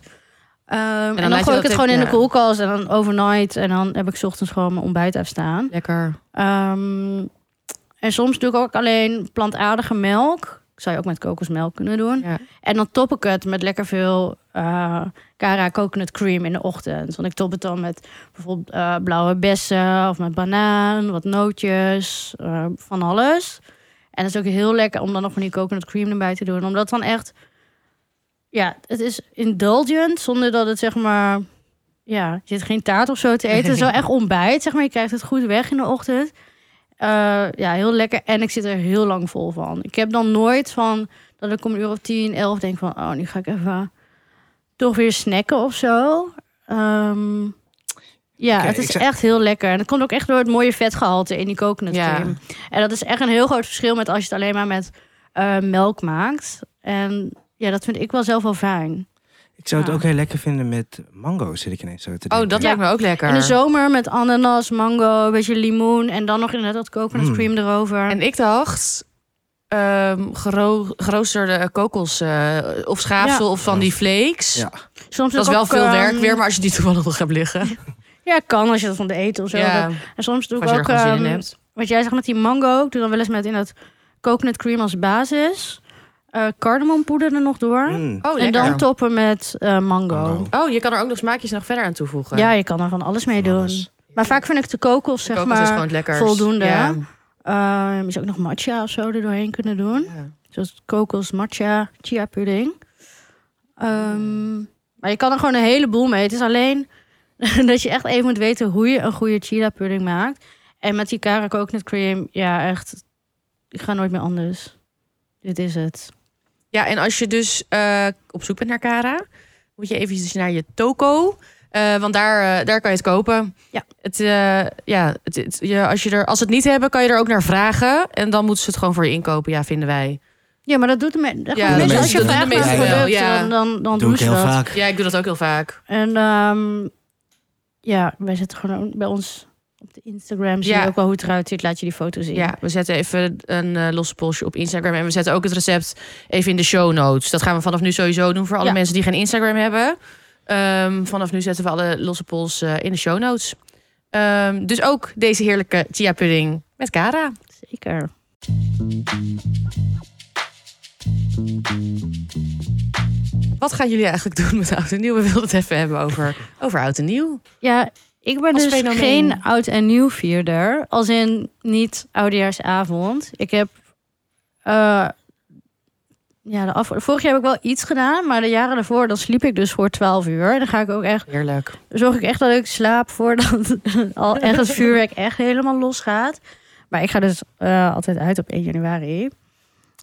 Speaker 2: Ehm, en dan,
Speaker 1: laat je
Speaker 2: gooi
Speaker 1: dat
Speaker 2: ik het gewoon in
Speaker 1: even-
Speaker 2: de
Speaker 1: ja.
Speaker 2: koelkast en dan overnight. En dan heb ik 's ochtends gewoon mijn ontbijt afstaan.
Speaker 1: Lekker.
Speaker 2: Ehm, en soms doe ik ook alleen plantaardige melk. Ik zou je ook met kokosmelk kunnen doen.
Speaker 1: Ja.
Speaker 2: En dan top ik het met lekker veel eh Cara coconut cream in de ochtend. Want ik top het dan met bijvoorbeeld eh, blauwe bessen of met banaan, wat nootjes, eh, van alles. En het is ook heel lekker om dan nog van die coconut cream erbij te doen. Omdat dan echt, ja, het is indulgent zonder dat het zeg maar, ja, je zit geen taart of zo te eten. Het is wel echt ontbijt, zeg maar. Je krijgt het goed weg in de ochtend. Eh, ja, heel lekker. En ik zit er heel lang vol van. Ik heb dan nooit van dat ik om een uur of tien, elf denk van... oh, nu ga ik even toch weer snacken of zo. Ehm, ja,
Speaker 3: Oké,
Speaker 2: het
Speaker 3: ik
Speaker 2: is
Speaker 3: zou-
Speaker 2: echt heel lekker. En dat komt ook echt door het mooie vetgehalte in die coconut
Speaker 1: Ja.
Speaker 2: cream. En dat is echt een heel groot verschil met als je het alleen maar met eh, melk maakt. En ja, dat vind ik wel zelf wel fijn.
Speaker 3: Ik zou het
Speaker 2: Ja.
Speaker 3: ook heel lekker vinden met mango, zit ik ineens zo te denken.
Speaker 1: Oh, dat
Speaker 2: Ja.
Speaker 1: lijkt me ook lekker.
Speaker 2: In de zomer met ananas, mango, een beetje limoen... en dan nog inderdaad dat coconut
Speaker 3: Mm.
Speaker 2: cream erover.
Speaker 1: En ik dacht, ehm gero- geroosterde kokos eh, of schaafsel of van die flakes.
Speaker 3: Ja.
Speaker 2: Soms
Speaker 1: Dat is
Speaker 2: doe ik
Speaker 1: wel
Speaker 2: ook,
Speaker 1: veel
Speaker 2: ehm,
Speaker 1: werk weer, maar als je die toevallig nog hebt liggen.
Speaker 2: Ja, kan als je dat van de eten of zo.
Speaker 1: Ja,
Speaker 2: En soms doe ik
Speaker 1: als je er
Speaker 2: ook...
Speaker 1: gewoon zin in
Speaker 2: ehm,
Speaker 1: hebt.
Speaker 2: Wat jij zegt met die mango, ik doe dan wel eens met in dat coconut cream als basis. eh cardamompoeder er nog door.
Speaker 3: Mm.
Speaker 1: Oh,
Speaker 2: en
Speaker 1: lekker.
Speaker 2: dan toppen met eh, mango.
Speaker 3: Mango.
Speaker 1: Oh, je kan er ook nog smaakjes nog verder aan toevoegen.
Speaker 2: Ja, je kan er van alles mee
Speaker 3: Van
Speaker 2: doen.
Speaker 3: alles.
Speaker 2: Maar vaak vind ik de kokos, zeg
Speaker 1: kokos
Speaker 2: maar.
Speaker 1: is gewoon het lekkers.
Speaker 2: voldoende,
Speaker 1: Ja.
Speaker 2: hè? Ehm, je zou ook nog matcha of zo er doorheen kunnen doen.
Speaker 1: Ja.
Speaker 2: Zoals kokos, matcha, chia pudding. Ehm, maar je kan er gewoon een heleboel mee. Het is alleen dat je echt even moet weten hoe je een goede chia pudding maakt. En met die kara coconut cream, ja echt, ik ga nooit meer anders. Dit is het.
Speaker 1: Ja, en als je dus eh, op zoek bent naar Kara, moet je eventjes naar je toko. eh, want daar, eh, daar kan je het kopen.
Speaker 2: Ja.
Speaker 1: Het, eh, ja, het, het- je, als, je er, als ze het niet hebben, kan je er ook naar vragen. En dan moeten ze het gewoon voor je inkopen, ja, vinden wij.
Speaker 2: Ja, maar dat doet de me- dat
Speaker 1: Ja,
Speaker 2: doen mensen.
Speaker 3: dat doen
Speaker 2: Als je
Speaker 3: de
Speaker 2: vraagt naar
Speaker 3: meesten
Speaker 2: een
Speaker 3: wel,
Speaker 2: product,
Speaker 1: ja.
Speaker 2: dan, dan, dan
Speaker 3: Dat doe
Speaker 2: doen
Speaker 3: ik
Speaker 2: ze
Speaker 3: heel
Speaker 2: dat.
Speaker 3: vaak.
Speaker 1: Ja, ik doe dat ook heel vaak.
Speaker 2: En ehm, ja, wij zitten gewoon bij ons op de Instagram. Zie
Speaker 1: Ja.
Speaker 2: je ook wel hoe het eruit ziet. Laat je die foto zien.
Speaker 1: Ja, we zetten even een eh, losse polsje op Instagram. En we zetten ook het recept even in de show notes. Dat gaan we vanaf nu sowieso doen voor alle
Speaker 2: Ja.
Speaker 1: mensen die geen Instagram hebben. Ehm, vanaf nu zetten we alle losse pols eh, in de show notes. Ehm, dus ook deze heerlijke chia pudding met Kara.
Speaker 2: Zeker.
Speaker 1: Wat gaan jullie eigenlijk doen met oud en nieuw? We wilden het even hebben over, over oud en nieuw.
Speaker 2: Ja, ik ben
Speaker 1: Als
Speaker 2: dus
Speaker 1: fenomeen.
Speaker 2: geen oud en nieuw vierder. Als in niet oudejaarsavond. Ik heb. eh, ja, de af... vorig jaar heb ik wel iets gedaan, maar de jaren daarvoor dan sliep ik dus voor 12 uur. En dan ga ik ook echt,
Speaker 1: Heerlijk.
Speaker 2: zorg ik echt dat ik slaap voordat al echt het vuurwerk echt helemaal losgaat. Maar ik ga dus eh, altijd uit op 1 januari.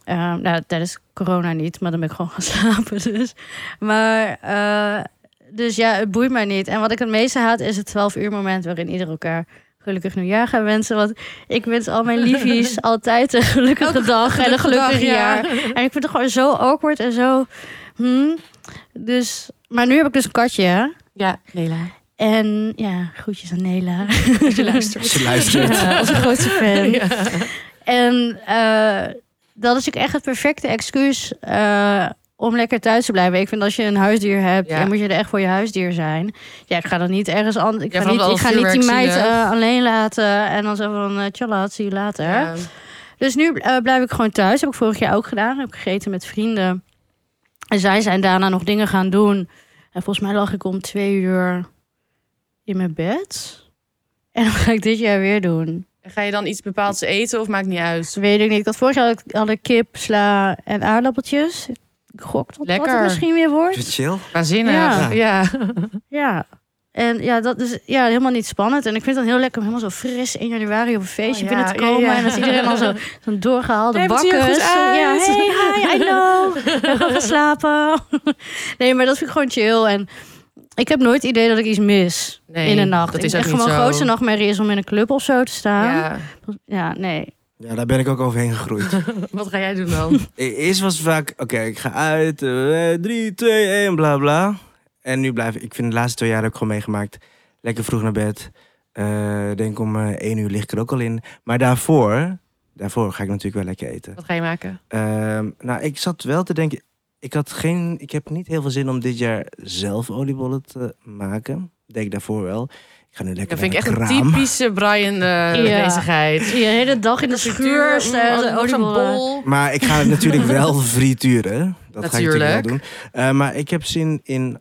Speaker 2: Ehm, nou, tijdens corona niet, maar dan ben ik gewoon gaan slapen. Dus. Maar, eh, dus ja, het boeit mij niet. En wat ik het meeste haat is het 12 uur moment waarin ieder elkaar gelukkig nieuwjaar gaan wensen. Want ik wens al mijn liefies altijd een gelukkige dag en een gelukkig jaar. En ik vind het gewoon zo awkward en zo... hmm. Dus, maar nu heb ik dus een katje. hè.
Speaker 1: Ja, Nela.
Speaker 2: En ja, groetjes aan Nela.
Speaker 1: Je luistert.
Speaker 3: Ze luistert.
Speaker 2: Ja, onze grootste fan.
Speaker 1: Ja.
Speaker 2: En eh, dat is ook echt het perfecte excuus eh, om lekker thuis te blijven. Ik vind als je een huisdier hebt,
Speaker 1: Ja.
Speaker 2: dan moet je er echt voor je huisdier zijn. Ja, ik ga dan niet ergens anders. Ik
Speaker 1: Ja,
Speaker 2: ga
Speaker 1: vooral al
Speaker 2: niet, ik ga niet
Speaker 1: vuurwerk
Speaker 2: die meid
Speaker 1: zielig.
Speaker 2: eh, alleen laten en dan zo van uh, tjalla, zie je later.
Speaker 1: Ja.
Speaker 2: Dus nu eh, blijf ik gewoon thuis. Heb ik vorig jaar ook gedaan. Heb ik gegeten met vrienden. En zij zijn daarna nog dingen gaan doen. En volgens mij lag ik om twee uur in mijn bed. En dat ga ik dit jaar weer doen.
Speaker 1: En Ga je dan iets bepaalds eten of maakt niet uit?
Speaker 2: Dus weet ik niet. Dat vorig jaar had ik, had ik kip, sla en aardappeltjes. Ik gok dat dat
Speaker 1: Lekker.
Speaker 2: het misschien weer wordt.
Speaker 3: Chill.
Speaker 1: Waanzinnig.
Speaker 2: Ja.
Speaker 1: ja.
Speaker 2: Ja. En ja, dat is ja, helemaal niet spannend. En ik vind het dan heel lekker om helemaal zo fris in januari op een feestje
Speaker 1: Oh, ja,
Speaker 2: binnen te komen.
Speaker 1: ja, ja.
Speaker 2: En dan is iedereen al zo- zo'n doorgehaalde
Speaker 1: Nee, maar het
Speaker 2: bakkes.
Speaker 1: ziet er goed
Speaker 2: Zo, Ja,
Speaker 1: uit.
Speaker 2: hey, hi, I know. Ik ben gewoon gaan slapen. Nee, maar dat vind ik gewoon chill. En ik heb nooit het idee dat ik iets mis
Speaker 1: Nee,
Speaker 2: in de nacht.
Speaker 1: dat is
Speaker 2: ik
Speaker 1: ook
Speaker 2: echt
Speaker 1: niet
Speaker 2: gewoon
Speaker 1: zo.
Speaker 2: grootste nachtmerrie is om in een club of zo te staan. Ja,
Speaker 1: Ja.
Speaker 2: nee.
Speaker 3: Ja, daar ben ik ook overheen gegroeid.
Speaker 1: Wat ga jij doen dan?
Speaker 3: E- Eerst was het vaak, oké, ik ga uit, eh, drie, twee, één, bla bla. En nu blijf ik, ik vind de laatste twee jaar heb ik gewoon meegemaakt. Lekker vroeg naar bed. Eh, denk om eh één uur lig ik er ook al in. Maar daarvoor daarvoor ga ik natuurlijk wel lekker eten.
Speaker 1: Wat ga je maken?
Speaker 3: Ehm, nou, ik zat wel te denken. Ik, had geen, ik heb niet heel veel zin om dit jaar zelf oliebollen te maken. Denk daarvoor wel. Ik ga nu lekker
Speaker 1: Dat vind ik
Speaker 3: naar
Speaker 1: echt een
Speaker 3: kraam.
Speaker 1: typische Brian eh
Speaker 2: Ja.
Speaker 1: bezigheid.
Speaker 2: Je hele dag in de schuur staat
Speaker 1: een mm, bol.
Speaker 3: Maar ik ga het natuurlijk wel frituren. Dat ga ik natuurlijk
Speaker 1: Natuurlijk.
Speaker 3: wel doen. Eh, maar ik heb zin in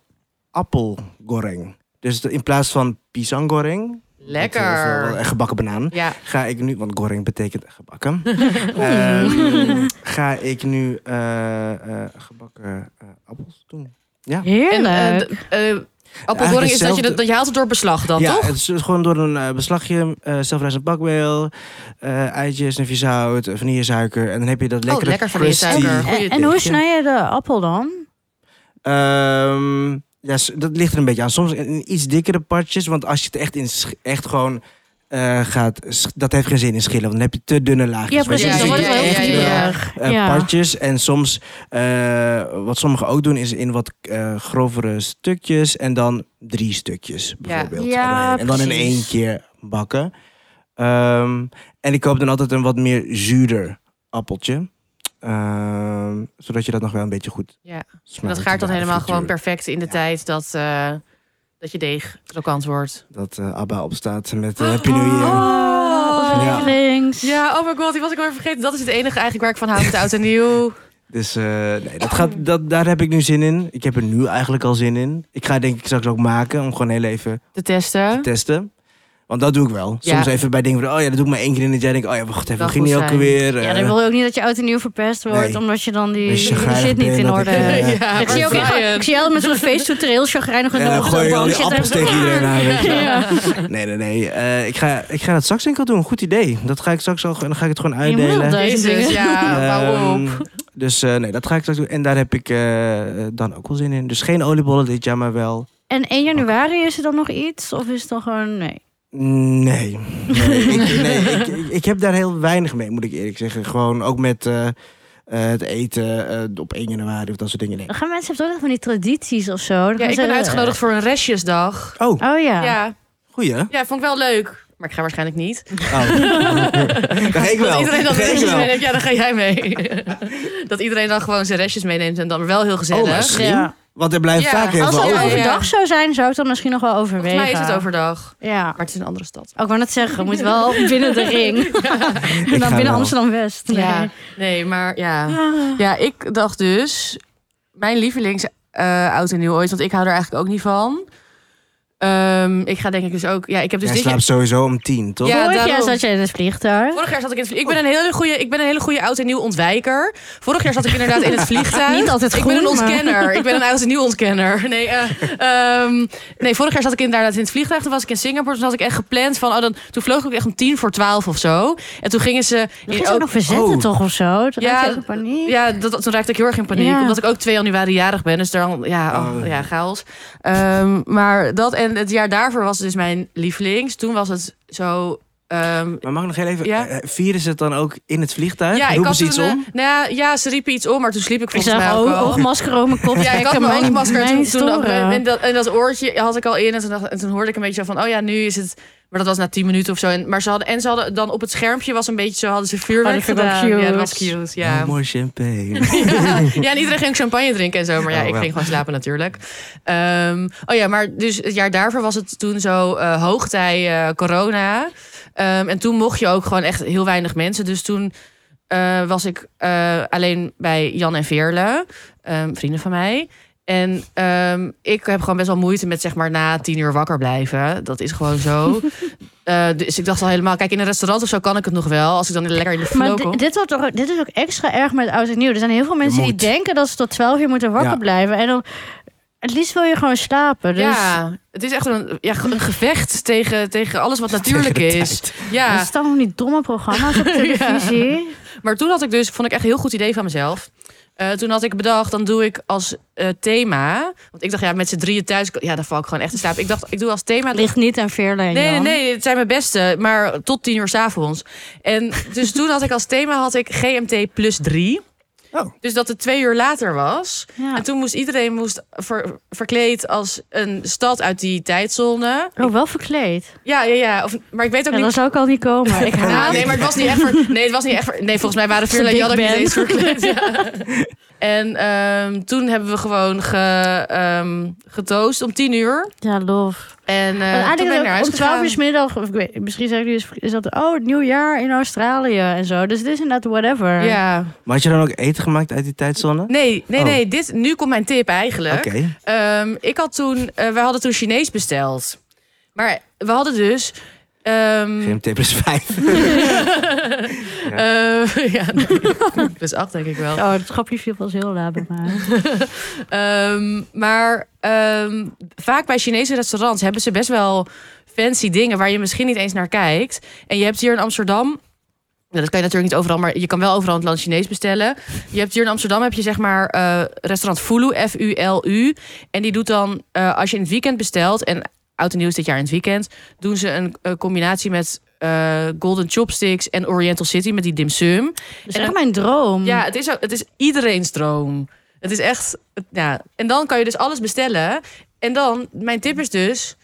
Speaker 3: appelgoreng. Dus de- in plaats van pisang goreng.
Speaker 1: Lekker.
Speaker 3: En gebakken banaan.
Speaker 1: Ja,
Speaker 3: Ga ik nu, want goreng betekent gebakken. Ehm, ga ik nu eh, eh, gebakken eh, appels doen.
Speaker 1: en eh,
Speaker 2: Heerlijk.
Speaker 1: d- eh, appelgoreng is dat je,
Speaker 3: hetzelfde-
Speaker 1: dat, dat je haalt het door beslag dan,
Speaker 3: ja,
Speaker 1: toch?
Speaker 3: het is dus gewoon door een eh, beslagje, eh zelfrijzend bakmeel, eh eitjes, snufjes zout, eh, vanillesuiker. En dan heb je dat lekkere
Speaker 1: Oh, lekker vanillesuiker.
Speaker 3: crusty-
Speaker 1: Goeie
Speaker 2: En, en
Speaker 1: tip,
Speaker 2: hoe
Speaker 3: ja.
Speaker 2: snij je de appel dan?
Speaker 3: Ehm, ja, s- dat ligt er een beetje aan. Soms in iets dikkere partjes, want als je het echt, in sch- echt gewoon eh, gaat... sch- dat heeft geen zin in schillen, want dan heb je te dunne laagjes.
Speaker 2: Ja,
Speaker 3: weet je.
Speaker 2: precies.
Speaker 1: precies,
Speaker 2: Dat
Speaker 1: dan
Speaker 3: Dus
Speaker 1: wordt
Speaker 2: wordt het
Speaker 1: het wel
Speaker 2: wel echt
Speaker 1: heel
Speaker 2: heel
Speaker 3: eh, partjes. En soms, eh, wat sommigen ook doen, is in wat eh, grovere stukjes en dan drie stukjes bijvoorbeeld.
Speaker 2: Ja,
Speaker 3: erdoorheen. en dan in
Speaker 2: precies.
Speaker 3: één keer bakken. Ehm, en ik koop dan altijd een wat meer zuurder appeltje. Ehm, zodat je dat nog wel een beetje goed
Speaker 1: Ja. En
Speaker 3: smaakt.
Speaker 1: dat gaart dan
Speaker 3: na de
Speaker 1: helemaal gewoon
Speaker 3: frituur.
Speaker 1: perfect in de
Speaker 3: Ja.
Speaker 1: tijd dat, eh, dat je deeg krokant wordt.
Speaker 3: Dat eh, Abba opstaat met eh Pinot Noir.
Speaker 1: Oh.
Speaker 3: Ja.
Speaker 2: links.
Speaker 1: Ja, oh my god, die was ik alweer vergeten. Dat is het enige eigenlijk waar ik van hou met oud en nieuw.
Speaker 3: Dus eh, nee, dat gaat, dat, daar heb ik nu zin in. Ik heb er nu eigenlijk al zin in. Ik ga het denk ik straks ook maken om gewoon heel even
Speaker 1: Te testen.
Speaker 3: testen. Want dat doe ik wel.
Speaker 1: Ja.
Speaker 3: Soms even bij dingen van, oh ja, dat doe ik maar één keer in het jaar. Denk ik, oh ja, wacht even,
Speaker 1: Dat
Speaker 3: ging
Speaker 1: moet
Speaker 3: niet ook
Speaker 1: zijn.
Speaker 3: weer.
Speaker 2: Ja, dan wil je ook niet dat je oud en nieuw verpest wordt,
Speaker 3: Eh, Nee.
Speaker 2: omdat je dan die
Speaker 3: Een chagrijnig
Speaker 2: shit niet
Speaker 3: ben
Speaker 2: in
Speaker 3: dat
Speaker 2: orde
Speaker 3: ik, eh,
Speaker 2: hebt.
Speaker 3: Ja,
Speaker 2: Ik zie, ook, ik,
Speaker 1: Brian.
Speaker 2: ik zie altijd met zo'n feesttoetreel chagrijnig en
Speaker 3: en dan gooi je al die appels tegen iedereen aan. weet je.
Speaker 2: Ja.
Speaker 3: Nee, nee, nee. eh, ik, ga, ik ga dat straks denk ik wel doen. Goed idee. Dat ga ik straks al en dan ga ik het gewoon
Speaker 2: Je moet wel
Speaker 3: uitdelen.
Speaker 2: dat
Speaker 1: Jezus,
Speaker 2: dingen.
Speaker 1: ja, Ah, wauw op.
Speaker 3: Ehm, dus eh, nee, dat ga ik straks doen. En daar heb ik eh, eh, dan ook wel zin in. Dus geen oliebollen dit jaar, maar wel.
Speaker 2: En 1 januari is er dan nog iets? Of is het dan gewoon, nee?
Speaker 3: Nee. Nee, ik, nee, ik, ik- ik heb daar heel weinig mee, moet ik eerlijk zeggen. Gewoon ook met eh, eh, het eten eh, op 1 januari of dat soort dingen. Nee.
Speaker 2: Dan gaan mensen hebben toch echt van die tradities of zo. Dan
Speaker 1: Ja,
Speaker 2: gaan
Speaker 1: ik
Speaker 2: ze-
Speaker 1: ben uitgenodigd voor een restjesdag.
Speaker 3: Oh,
Speaker 2: Oh ja.
Speaker 1: Ja.
Speaker 3: goeie Oh. hè?
Speaker 1: ja, vond ik wel leuk. Maar ik ga waarschijnlijk niet.
Speaker 3: Oh. dat ik wel.
Speaker 1: Dat iedereen dan
Speaker 3: Dat
Speaker 1: zijn
Speaker 3: ik
Speaker 1: restjes
Speaker 3: wel.
Speaker 1: meeneemt. Ja, dan ga jij mee. dat iedereen dan gewoon zijn restjes meeneemt en dan wel heel gezellig.
Speaker 3: Oh, misschien.
Speaker 2: Ja.
Speaker 3: Want er blijft
Speaker 1: Ja, eh,
Speaker 3: vaak heel
Speaker 2: Als
Speaker 3: veel
Speaker 2: het
Speaker 1: Ja,
Speaker 3: over.
Speaker 1: ja.
Speaker 2: overdag zou zijn, zou ik dan misschien nog wel
Speaker 1: Volgens
Speaker 2: overwegen.
Speaker 1: mij is het overdag.
Speaker 2: Ja.
Speaker 1: Maar het is een andere stad.
Speaker 2: Ook wou net zeggen, moet wel binnen de ring. En
Speaker 3: ga
Speaker 2: dan binnen
Speaker 3: wel.
Speaker 2: Amsterdam-West. Nee. Ah,
Speaker 1: Ja, nee, maar ja. Ja, ik dacht dus, mijn lievelings eh, oud en nieuw ooit, want ik hou er eigenlijk ook niet van. Ehm, ik ga denk ik dus ook, ja, ik heb dus
Speaker 3: Jij
Speaker 1: dit jaar-
Speaker 3: slaapt sowieso om tien, toch?
Speaker 1: Ja,
Speaker 2: Vorig jaar
Speaker 1: daarom.
Speaker 2: zat je in het vliegtuig.
Speaker 1: Vorig jaar zat ik in het vliegtuig. Ik ben een hele goede, ik ben een hele goede oud en nieuw ontwijker. Vorig jaar zat ik inderdaad in het vliegtuig.
Speaker 2: Niet altijd
Speaker 1: Ik
Speaker 2: groen,
Speaker 1: ben een
Speaker 2: maar-
Speaker 1: ontkenner. Ik ben een oud en nieuw ontkenner. Nee, eh, ehm, nee, vorig jaar zat ik inderdaad in het vliegtuig. Toen was ik in Singapore. Toen had ik echt gepland van, oh, dan, toen vloog ik ook echt om tien voor twaalf of zo. En toen gingen ze...
Speaker 2: Dat ging ze ook nog verzetten
Speaker 3: oh.
Speaker 2: toch of zo? Toen
Speaker 1: Ja,
Speaker 2: had je ook in paniek.
Speaker 1: Ja, dat, toen raakte ik heel erg in paniek.
Speaker 2: Ja.
Speaker 1: Omdat ik ook 2 januari jarig ben. Dus dan, ja, oh,
Speaker 3: Oh.
Speaker 1: ja chaos. Ehm, maar dat en het jaar daarvoor was dus mijn lievelings. Toen was het zo... ehm,
Speaker 3: Maar mag ik nog heel even...
Speaker 1: Ja.
Speaker 3: eh, vieren ze het dan ook in het vliegtuig?
Speaker 1: ja, ik
Speaker 3: Roepen
Speaker 1: had
Speaker 3: ze
Speaker 1: toen,
Speaker 3: iets
Speaker 1: eh,
Speaker 3: om?
Speaker 1: nou ja, ja, ze riepen iets om, maar toen sliep ik
Speaker 2: Ik
Speaker 1: volgens mij
Speaker 2: zag
Speaker 1: ook
Speaker 2: ook
Speaker 1: al.
Speaker 2: oogmasker over mijn kop.
Speaker 1: Ja, ik had mijn oogmasker toen, toen nog-
Speaker 2: storen.
Speaker 1: en, dat, en dat oortje had ik al in. En toen, dacht- en toen hoorde ik een beetje zo van, oh ja, nu is het... Maar dat was na 10 minuten of zo. En, maar ze hadden, en ze hadden dan op het schermpje was een beetje zo, hadden ze vuurwerk
Speaker 2: Oh, dat vind ik ook
Speaker 1: gedaan.
Speaker 2: cute.
Speaker 1: Ja, dat was cute. Ja.
Speaker 3: Oh, mooi champagne.
Speaker 1: Ja, en iedereen ging ook champagne drinken en zo. Maar ja,
Speaker 3: Oh,
Speaker 1: ik
Speaker 3: wel.
Speaker 1: ging gewoon slapen natuurlijk. Ehm, oh ja, maar dus het jaar daarvoor was het toen zo eh, hoogtij eh, corona. Ehm, en toen mocht je ook gewoon echt heel weinig mensen. Dus toen eh, was ik eh, alleen bij Jan en Veerle, ehm, vrienden van mij. En ehm, ik heb gewoon best wel moeite met zeg maar na tien uur wakker blijven. Dat is gewoon zo. Eh, dus ik dacht al helemaal, kijk in een restaurant of zo kan ik het nog wel. Als ik dan lekker in de flow
Speaker 2: Maar
Speaker 1: kom.
Speaker 2: di- dit, wordt toch, dit is ook extra erg met oud en nieuw. Er zijn heel veel mensen die
Speaker 3: moet.
Speaker 2: denken dat ze tot 12 uur moeten wakker
Speaker 3: Ja.
Speaker 2: blijven. En dan, het liefst wil je gewoon slapen. Dus
Speaker 1: Ja, het is echt een, ja, een gevecht tegen, tegen alles wat natuurlijk
Speaker 3: Tegen de
Speaker 1: is.
Speaker 3: tijd.
Speaker 2: dat
Speaker 1: Ja,
Speaker 2: is dan die domme programma's op televisie.
Speaker 1: maar toen had ik dus, vond ik echt een heel goed idee van mezelf. Eh, toen had ik bedacht, dan doe ik als eh, thema. Want ik dacht, ja, met z'n drieën thuis, ja, dan val ik gewoon echt te slapen. Ik dacht, ik doe als thema.
Speaker 2: Ligt niet aan Veerlijn,
Speaker 1: Nee, nee,
Speaker 2: Jan.
Speaker 1: nee, het zijn mijn beste, maar tot tien uur s'avonds. En dus toen had ik als thema had ik GMT plus 3.
Speaker 3: Oh.
Speaker 1: Dus dat het twee uur later was.
Speaker 2: Ja.
Speaker 1: En toen moest iedereen moest ver- verkleed als een stad uit die tijdzone.
Speaker 2: Oh, wel verkleed.
Speaker 1: Ja, ja, ja. Of, maar ik weet ook
Speaker 2: Ja, dan
Speaker 1: niet.
Speaker 2: zou ik al niet komen. Ik haat
Speaker 1: Ja, nee, maar het was niet echt. ver- Nee, het was niet echt. ver- Nee, volgens mij waren
Speaker 2: Zo'n
Speaker 1: Veerle Jan ook
Speaker 2: big
Speaker 1: niet
Speaker 2: band.
Speaker 1: eens verkleed. ja. En ehm, toen hebben we gewoon ge, ehm, getoost om tien uur.
Speaker 2: Ja, lof.
Speaker 1: En eh,
Speaker 2: En
Speaker 1: toen ben ik
Speaker 2: Oh, eigenlijk
Speaker 1: naar
Speaker 2: ook
Speaker 1: huis
Speaker 2: om 12
Speaker 1: gegaan.
Speaker 2: uur 's middag, of ik weet, misschien zeggen jullie, is dat oh, het nieuwjaar in Australië en zo. Dus dit is inderdaad whatever.
Speaker 1: Ja.
Speaker 3: Maar had je dan ook eten gemaakt uit die tijdzone?
Speaker 1: Nee, nee,
Speaker 3: Oh.
Speaker 1: nee. Dit, nu komt mijn tip eigenlijk.
Speaker 3: Oké.
Speaker 1: Ehm, ik had toen, eh, wij hadden toen Chinees besteld. Maar we hadden dus. ehm,
Speaker 3: GMT plus 5.
Speaker 1: eh, ja, nee, plus acht denk ik wel.
Speaker 2: Oh, het grapje viel pas heel laat bij mij.
Speaker 1: Ehm, maar ehm, vaak bij Chinese restaurants hebben ze best wel fancy dingen waar je misschien niet eens naar kijkt. En je hebt hier in Amsterdam. nou, dat kan je natuurlijk niet overal, maar je kan wel overal in het land Chinees bestellen. Je hebt hier in Amsterdam heb je zeg maar eh, restaurant Fulu, F-U-L-U. En die doet dan, eh, als je in het weekend bestelt, en oud en nieuw is dit jaar in het weekend, doen ze een eh, combinatie met eh, Golden Chopsticks en Oriental City met die dim sum.
Speaker 2: Dat is
Speaker 1: En-
Speaker 2: echt mijn droom.
Speaker 1: Ja, het is, ook, het is iedereen's droom. Het is echt. het- ja. En dan kan je dus alles bestellen. En dan, mijn tip is dus.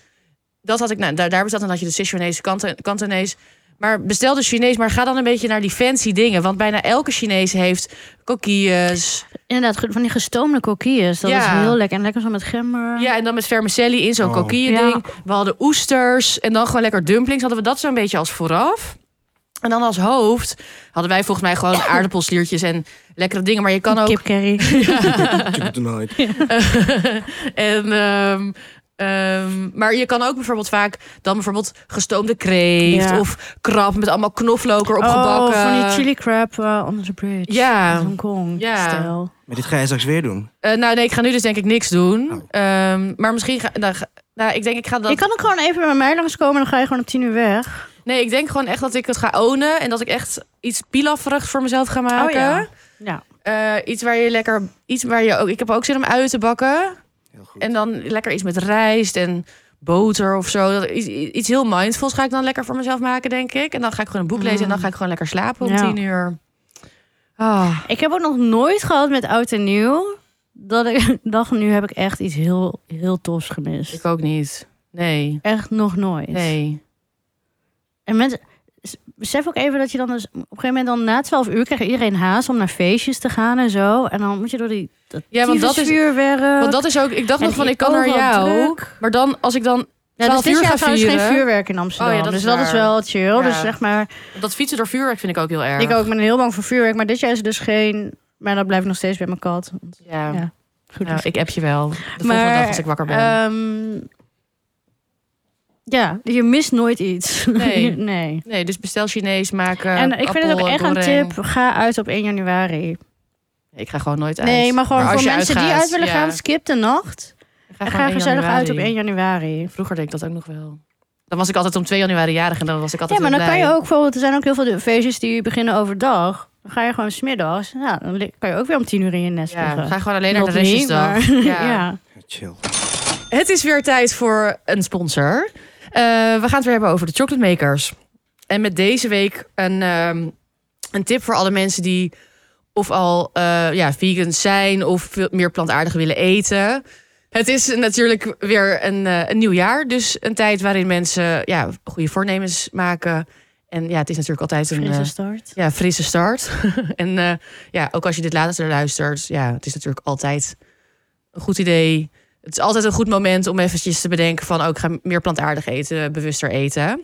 Speaker 1: Dat had ik. Nou, daar, daar bestaat dan dat je de Sichuanese, Kanta- Kantonees. Maar bestel dus Chinees, maar ga dan een beetje naar die fancy dingen. Want bijna elke Chinees heeft kokkies.
Speaker 2: Inderdaad, ge- van die gestoomde kokkies. Dat
Speaker 1: Ja.
Speaker 2: is heel lekker. En lekker zo met gember.
Speaker 1: Ja, en dan met vermicelli in zo'n
Speaker 3: Oh.
Speaker 1: kokkie
Speaker 2: Ja.
Speaker 1: ding. We hadden oesters en dan gewoon lekker dumplings. Hadden we dat zo'n beetje als vooraf. En dan als hoofd hadden wij volgens mij gewoon aardappelsliertjes en lekkere dingen. Maar je kan ook
Speaker 2: Kip curry.
Speaker 1: en, ehm, ehm, maar je kan ook bijvoorbeeld vaak dan bijvoorbeeld gestoomde kreeft
Speaker 2: Ja.
Speaker 1: of krab met allemaal knoflook erop
Speaker 2: Oh,
Speaker 1: gebakken.
Speaker 2: van die chili crab eh, onder de bridge.
Speaker 1: Ja.
Speaker 2: In Hongkong.
Speaker 1: Ja.
Speaker 2: Stijl.
Speaker 3: Maar dit ga jij straks weer doen.
Speaker 1: Eh, nou nee, ik ga nu dus denk ik niks doen.
Speaker 3: Oh.
Speaker 1: Ehm, maar misschien ga nou, ga- nou, ik denk ik ga dat.
Speaker 2: Je kan ook gewoon even bij mij langskomen. Dan ga je gewoon om tien uur weg.
Speaker 1: Nee, ik denk gewoon echt dat ik het ga ownen en dat ik echt iets pilaferigs voor mezelf ga maken.
Speaker 2: Oh, ja. Ja.
Speaker 1: Eh, iets waar je lekker, iets waar je ook. Ik heb ook zin om uien te bakken
Speaker 3: Heel goed.
Speaker 1: en dan lekker iets met rijst en boter of zo. Dat- Iets, iets heel mindfuls ga ik dan lekker voor mezelf maken, denk ik. En dan ga ik gewoon een boek lezen en dan ga ik gewoon lekker slapen om
Speaker 2: Mm. Ja.
Speaker 1: tien uur. Ah.
Speaker 2: Ik heb ook nog nooit gehad met oud en nieuw. Dat ik dacht, nu heb ik echt iets heel, heel tofs gemist.
Speaker 1: Ik ook niet. Nee.
Speaker 2: Echt nog nooit.
Speaker 1: Nee.
Speaker 2: En mensen, s- besef ook even dat je dan dus, op een gegeven moment dan na 12 uur krijgt iedereen haast om naar feestjes te gaan en zo. En dan moet je door die dat
Speaker 1: Ja, want dat is-
Speaker 2: vuurwerk.
Speaker 1: Want dat is ook. Ik dacht
Speaker 2: En
Speaker 1: nog van
Speaker 2: i-
Speaker 1: ik kan naar
Speaker 2: overal
Speaker 1: jou.
Speaker 2: druk.
Speaker 1: Maar dan als ik dan
Speaker 2: ja, dus
Speaker 1: 12
Speaker 2: dit
Speaker 1: uur
Speaker 2: jaar
Speaker 1: gaan
Speaker 2: trouwens geen
Speaker 1: vieren.
Speaker 2: vuurwerk in Amsterdam.
Speaker 1: Oh ja, dat
Speaker 2: dus
Speaker 1: is
Speaker 2: dat is
Speaker 1: waar.
Speaker 2: wel chill. Dus
Speaker 1: Ja.
Speaker 2: zeg maar,
Speaker 1: dat fietsen door vuurwerk vind ik ook heel erg.
Speaker 2: ik ook ben heel bang voor vuurwerk. Maar dit jaar is er dus geen... Maar dat blijft nog steeds bij mijn kat.
Speaker 1: Ja.
Speaker 2: Ja. Goed,
Speaker 1: Nou,
Speaker 2: dus-
Speaker 1: ik app je wel. De volgende
Speaker 2: Maar,
Speaker 1: dag als ik wakker ben.
Speaker 2: Ehm, ja, je mist nooit iets.
Speaker 1: Nee.
Speaker 2: nee.
Speaker 1: nee, dus bestel Chinees maken.
Speaker 2: en ik vind het
Speaker 1: appel,
Speaker 2: ook echt een
Speaker 1: dooreng.
Speaker 2: tip. Ga uit op 1 januari.
Speaker 1: Ik ga gewoon nooit uit.
Speaker 2: Nee, maar gewoon
Speaker 1: Maar als
Speaker 2: voor
Speaker 1: je
Speaker 2: mensen die
Speaker 1: uitgaat,
Speaker 2: uit willen
Speaker 1: ja.
Speaker 2: gaan, skip de nacht.
Speaker 1: Ik
Speaker 2: En
Speaker 1: gewoon
Speaker 2: ga
Speaker 1: 1
Speaker 2: gezellig uit op
Speaker 1: januari.
Speaker 2: 1 januari.
Speaker 1: Vroeger deed ik dat ook nog wel. Dan was ik altijd om 2 januari jarig en dan was ik
Speaker 2: Ja,
Speaker 1: altijd
Speaker 2: maar dan
Speaker 1: heel
Speaker 2: kan je
Speaker 1: blij.
Speaker 2: ook bijvoorbeeld, er zijn ook heel veel feestjes die beginnen overdag. Dan ga je gewoon smiddags. Ja, dan li- kan je ook weer om 10 uur in je nest
Speaker 1: Ja,
Speaker 2: liggen.
Speaker 1: ga gewoon alleen naar de
Speaker 2: Nog niet,
Speaker 1: restjesdag.
Speaker 2: maar-
Speaker 1: Ja.
Speaker 2: ja.
Speaker 3: Chill.
Speaker 1: Het is weer tijd voor een sponsor. Eh, we gaan het weer hebben over de chocolate makers. En met deze week een, ehm, een tip voor alle mensen die of al eh ja, vegans zijn of veel meer plantaardig willen eten. Het is natuurlijk weer een, eh, een nieuw jaar. Dus een tijd waarin mensen ja, goede voornemens maken. En ja, het is natuurlijk altijd een... eh,
Speaker 2: Frisse start.
Speaker 1: Ja, frisse start. en eh, ja, ook als je dit later luistert, ja, het is natuurlijk altijd een goed idee. Het is altijd een goed moment om eventjes te bedenken van, oh, ik ga meer plantaardig eten, bewuster eten.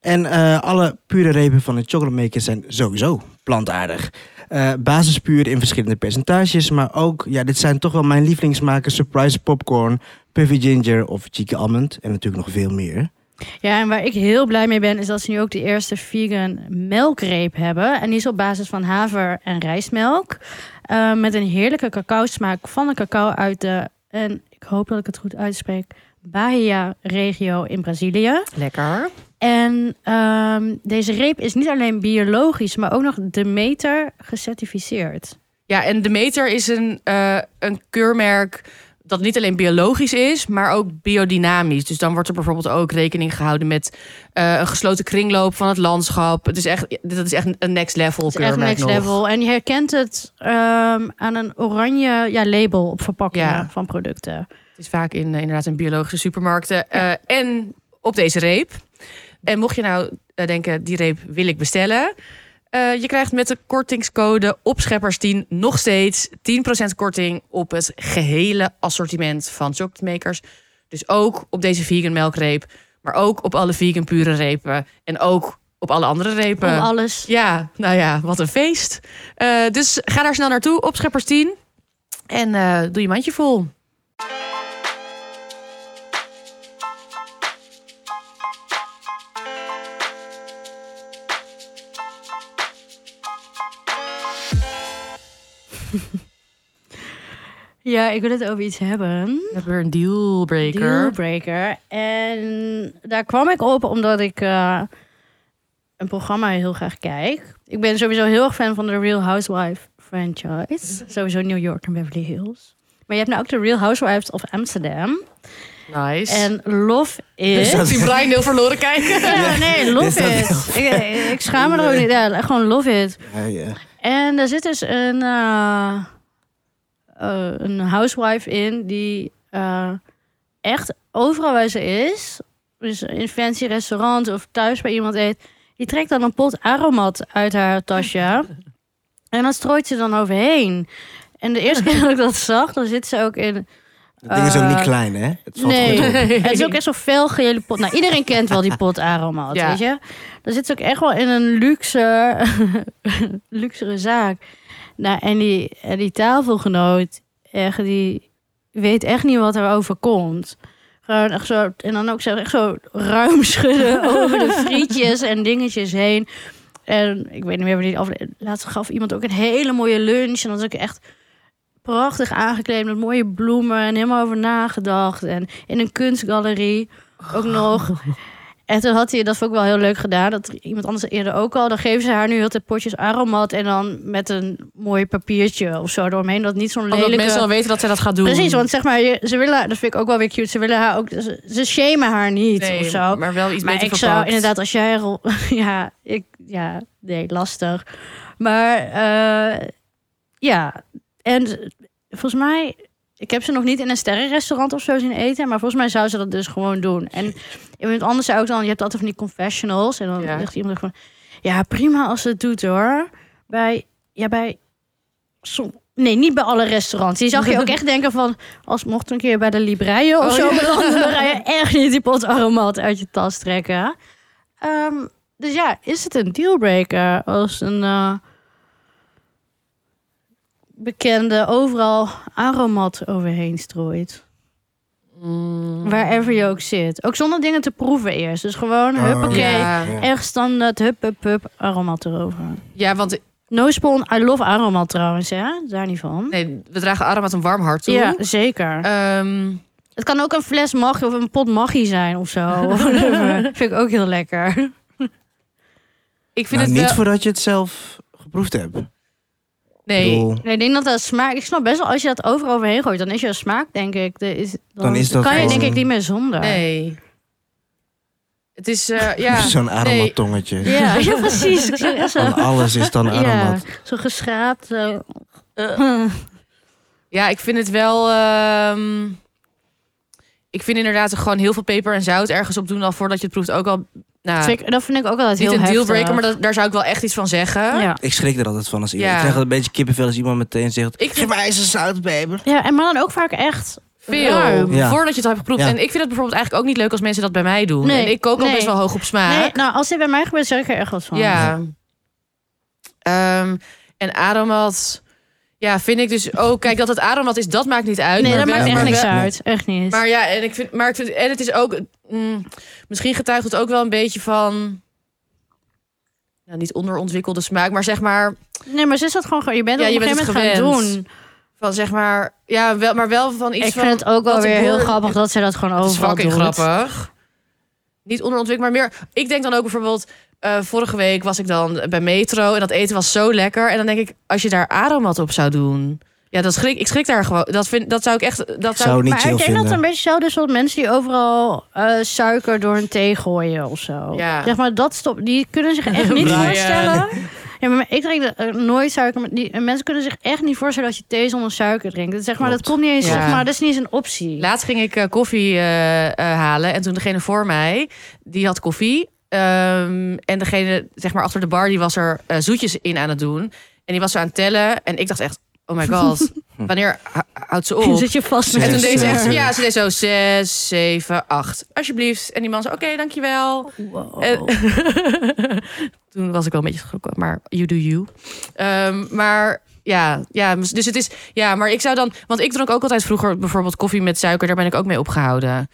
Speaker 3: En eh, alle pure repen van de chocolate maker zijn sowieso plantaardig. Eh basispuur in verschillende percentages, maar ook, ja, dit zijn toch wel mijn lievelingsmakers: surprise popcorn, puffy ginger of chique almond. En natuurlijk nog veel meer.
Speaker 2: Ja, en waar ik heel blij mee ben, is dat ze nu ook de eerste vegan melkreep hebben. En die is op basis van haver en rijstmelk. Eh, met een heerlijke cacao-smaak van de cacao uit de, en ik hoop dat ik het goed uitspreek, Bahia-regio in Brazilië.
Speaker 1: Lekker.
Speaker 2: En ehm, deze reep is niet alleen biologisch, maar ook nog Demeter gecertificeerd.
Speaker 1: Ja, en de meter is een, eh, een keurmerk dat niet alleen biologisch is, maar ook biodynamisch. Dus dan wordt er bijvoorbeeld ook rekening gehouden met eh, een gesloten kringloop van het landschap. Het is echt, dat is echt een next level
Speaker 2: Het is echt
Speaker 1: keurmerk
Speaker 2: next
Speaker 1: nog.
Speaker 2: level. En je herkent het ehm, aan een oranje ja, label op verpakkingen
Speaker 1: Ja.
Speaker 2: van producten.
Speaker 1: Het is vaak in eh, inderdaad in biologische supermarkten. Eh, en op deze reep. En mocht je nou eh, denken, die reep wil ik bestellen. eh, je krijgt met de kortingscode opscheppers10 nog steeds 10% korting op het gehele assortiment van chocolatemakers. Dus ook op deze vegan melkreep, maar ook op alle vegan pure repen en ook op alle andere repen.
Speaker 2: Om alles.
Speaker 1: Ja, nou ja, wat een feest. Eh, dus ga daar snel naartoe, opscheppers 10. En eh, doe je mandje vol.
Speaker 2: Ja, ik wil het over iets hebben.
Speaker 1: We hebben weer een dealbreaker.
Speaker 2: Dealbreaker. En daar kwam ik op omdat ik eh, een programma heel graag kijk. Ik ben sowieso heel erg fan van de Real Housewife franchise. sowieso New York en Beverly Hills. Maar je hebt nou ook de Real Housewives of Amsterdam.
Speaker 1: Nice.
Speaker 2: En Love
Speaker 3: Dus
Speaker 2: is...
Speaker 3: dat-
Speaker 1: die Brian heel verloren kijken.
Speaker 2: Ja, nee,
Speaker 3: Is
Speaker 2: Love
Speaker 3: dat
Speaker 2: It. Ik, ik schaam me er ook niet. Ja, gewoon Love It.
Speaker 3: Ja, ja.
Speaker 2: En daar zit dus een, eh, eh, een housewife in die eh, echt overal waar ze is, dus in fancy restaurants of thuis bij iemand eet, die trekt dan een pot aromat uit haar tasje. En dat strooit ze dan overheen. En de eerste keer dat ik dat zag, dan zit ze ook in
Speaker 3: Dat ding is ook niet
Speaker 2: Eh,
Speaker 3: klein, hè? Het valt
Speaker 2: nee.
Speaker 3: goed op.
Speaker 2: Het is ook echt zo'n fel gele pot. Nou, iedereen kent wel die pot aromaat,
Speaker 1: Ja.
Speaker 2: weet je. Dan zit ze ook echt wel in een luxe, luxere zaak. Nou, en die, en die tafelgenoot, echt, die weet echt niet wat er overkomt. Gewoon echt zo, en dan ook zo, echt zo ruim schudden over de frietjes en dingetjes heen. En ik weet niet meer wanneer die aflevering... Laatst gaf iemand ook een hele mooie lunch. En dat is ook echt prachtig aangekleed met mooie bloemen en helemaal over nagedacht. En in een kunstgalerie ook nog. En toen had hij, dat vond ik wel heel leuk gedaan, dat iemand anders eerder ook al, dan geven ze haar nu heel de potjes aromat en dan met een mooi papiertje of zo doorheen. Dat niet zo'n
Speaker 1: Omdat
Speaker 2: lelijke...
Speaker 1: mensen al weten Oh, dat zij dat gaat doen.
Speaker 2: Precies, want zeg maar, je- ze willen, dat vind ik ook wel weer cute, ze willen haar ook, ze, ze shamen haar niet
Speaker 1: Nee,
Speaker 2: of zo.
Speaker 1: maar wel iets
Speaker 2: Maar
Speaker 1: beter
Speaker 2: ik zou
Speaker 1: verpakt.
Speaker 2: inderdaad, als jij rol. Ja, ik. Ja, nee, lastig. Maar eh, ja, en volgens mij. Ik heb ze nog niet in een sterrenrestaurant of zo zien eten. Maar volgens mij zou ze dat dus gewoon doen. En iemand anders zou ook dan. Je hebt altijd van die confessionals. En dan
Speaker 1: Ja.
Speaker 2: zegt iemand gewoon. Ja, prima als ze het doet hoor. Bij. Ja, bij. som- Nee, niet bij alle restaurants. Die zag je ook echt denken van... als mocht een keer bij de Libreye of
Speaker 1: Oh,
Speaker 2: zo
Speaker 1: ja.
Speaker 2: belanden... dan ga je echt niet die pot aromaat uit je tas trekken. Ehm, dus ja, is het een dealbreaker als een eh, bekende overal aromat overheen strooit?
Speaker 1: Mm.
Speaker 2: Wherever je ook zit. Ook zonder dingen te proeven eerst. Dus gewoon,
Speaker 3: Oh,
Speaker 2: huppakee,
Speaker 1: Ja.
Speaker 2: echt standaard, hup, hup, hup, aromat erover.
Speaker 1: ja, want
Speaker 2: No spawn, I love aromat trouwens, hè? Daar niet van.
Speaker 1: nee, we dragen Aromat een warm hart toe.
Speaker 2: Ja, zeker.
Speaker 1: Ehm,
Speaker 2: Het kan ook een fles maggi of een pot maggi zijn of zo. Of whatever. Vind ik ook heel lekker.
Speaker 1: ik vind
Speaker 3: Nou,
Speaker 1: het
Speaker 3: niet
Speaker 1: wel-
Speaker 3: voordat je het zelf geproefd hebt. Ik
Speaker 1: Nee,
Speaker 3: bedoel,
Speaker 2: Nee, ik denk dat dat smaak... Ik snap best wel, als je dat over overheen gooit, dan is je smaak, denk ik... de- is, dan,
Speaker 3: Dan is dat
Speaker 2: kan je
Speaker 1: gewoon-
Speaker 2: denk ik niet meer zonder.
Speaker 1: nee. Het is, eh, ja.
Speaker 3: Zo'n
Speaker 1: nee.
Speaker 3: aromatongetje.
Speaker 2: Ja, ja, precies. Ik zeg echt zo,
Speaker 3: Van alles is dan
Speaker 2: ja,
Speaker 3: aromat.
Speaker 2: zo geschraapt.
Speaker 1: eh,
Speaker 2: Zo. Eh.
Speaker 1: Hm. Ja, ik vind het wel. ehm, ik vind inderdaad gewoon heel veel peper en zout ergens op doen al voordat je het proeft ook al. Nou,
Speaker 2: Dat vind ik- dat vind ik ook altijd
Speaker 1: niet een
Speaker 2: heel heftig.
Speaker 1: dealbreaker, maar dat- daar zou ik wel echt iets van zeggen.
Speaker 2: Ja.
Speaker 3: Ik schrik er altijd van als iemand.
Speaker 1: Ja.
Speaker 3: Ik krijg altijd een beetje kippenvel als iemand meteen zegt...
Speaker 1: Ik
Speaker 3: Ik geef
Speaker 1: vind
Speaker 3: mij eens een zoutbeber.
Speaker 2: ja, en maar dan ook vaak echt
Speaker 1: veel
Speaker 2: ruim.
Speaker 3: Ja.
Speaker 1: voordat je het hebt geproefd.
Speaker 3: Ja.
Speaker 1: En ik vind het bijvoorbeeld eigenlijk ook niet leuk als mensen dat bij mij doen.
Speaker 2: Nee,
Speaker 1: En ik kook al
Speaker 2: nee.
Speaker 1: best wel hoog op smaak.
Speaker 2: Nee, nou, als dit bij mij gebeurt, zeg ik er echt wat van.
Speaker 1: Ja. Ehm, en aromat. Ja, vind ik dus ook. Kijk, dat het aromat is, dat maakt niet uit.
Speaker 2: Nee,
Speaker 1: Maar
Speaker 2: dat
Speaker 1: wel-
Speaker 2: maakt echt
Speaker 1: maar
Speaker 2: niks
Speaker 1: wel-
Speaker 3: nee.
Speaker 2: uit. Echt niet.
Speaker 1: Maar ja, en ik vind, maar ik vind, en het is ook, mm, misschien getuigt het ook wel een beetje van, nou, niet onderontwikkelde smaak, maar zeg maar,
Speaker 2: Nee, maar ze is dat gewoon... ge- Je bent
Speaker 1: Ja,
Speaker 2: het op
Speaker 1: je
Speaker 2: een
Speaker 1: bent
Speaker 2: gegeven
Speaker 1: het
Speaker 2: moment gaan
Speaker 1: gewend.
Speaker 2: doen.
Speaker 1: van zeg maar, ja, wel, maar wel van iets
Speaker 2: Ik
Speaker 1: van,
Speaker 2: vind het ook wel
Speaker 1: wat de
Speaker 2: weer heel
Speaker 1: boer-
Speaker 2: grappig dat ze dat gewoon
Speaker 1: het is
Speaker 2: overal
Speaker 1: fucking
Speaker 2: doet.
Speaker 1: grappig. Niet onderontwikkeld, maar meer, ik denk dan ook bijvoorbeeld, eh, vorige week was ik dan bij Metro en dat eten was zo lekker. En dan denk ik, als je daar aromat op zou doen, Ja, dat schrik, ik schrik daar gewoon. Dat, vind, dat zou ik echt. Dat zou,
Speaker 3: Zou niet
Speaker 2: maar ik
Speaker 3: chill
Speaker 2: denk dat het een
Speaker 3: vinden.
Speaker 2: beetje hetzelfde is als dus mensen die overal eh, suiker door hun thee gooien of zo.
Speaker 1: Ja.
Speaker 2: Zeg maar, dat stop, die kunnen zich echt niet
Speaker 1: Brian.
Speaker 2: voorstellen. Ja, maar ik drink eh, nooit suiker. Maar die, en mensen kunnen zich echt niet voorstellen dat je thee zonder suiker drinkt. Dat, zeg maar, dat
Speaker 3: Klopt.
Speaker 2: komt niet eens,
Speaker 1: Ja.
Speaker 2: zeg maar, dat is niet eens een optie.
Speaker 1: Laatst ging ik eh, koffie eh, eh, halen. En toen degene voor mij, die had koffie. Ehm, en degene zeg maar, achter de bar, die was er eh, zoetjes in aan het doen. En die was zo aan het tellen. En ik dacht echt, oh my god, wanneer hou- houdt ze op?
Speaker 2: Zit je vast met
Speaker 1: En toen
Speaker 3: Zes,
Speaker 1: deed ze echt,
Speaker 3: zeven.
Speaker 1: ja, ze deed zo zes, zeven, acht. Alsjeblieft. En die man zei, oké,
Speaker 2: Oh,
Speaker 1: dankjewel. En- toen was ik wel een beetje geschrokken, maar you do you. Ehm, maar ja, ja, dus het is, ja, maar ik zou dan, want ik dronk ook altijd vroeger bijvoorbeeld koffie met suiker, daar ben ik ook mee opgehouden.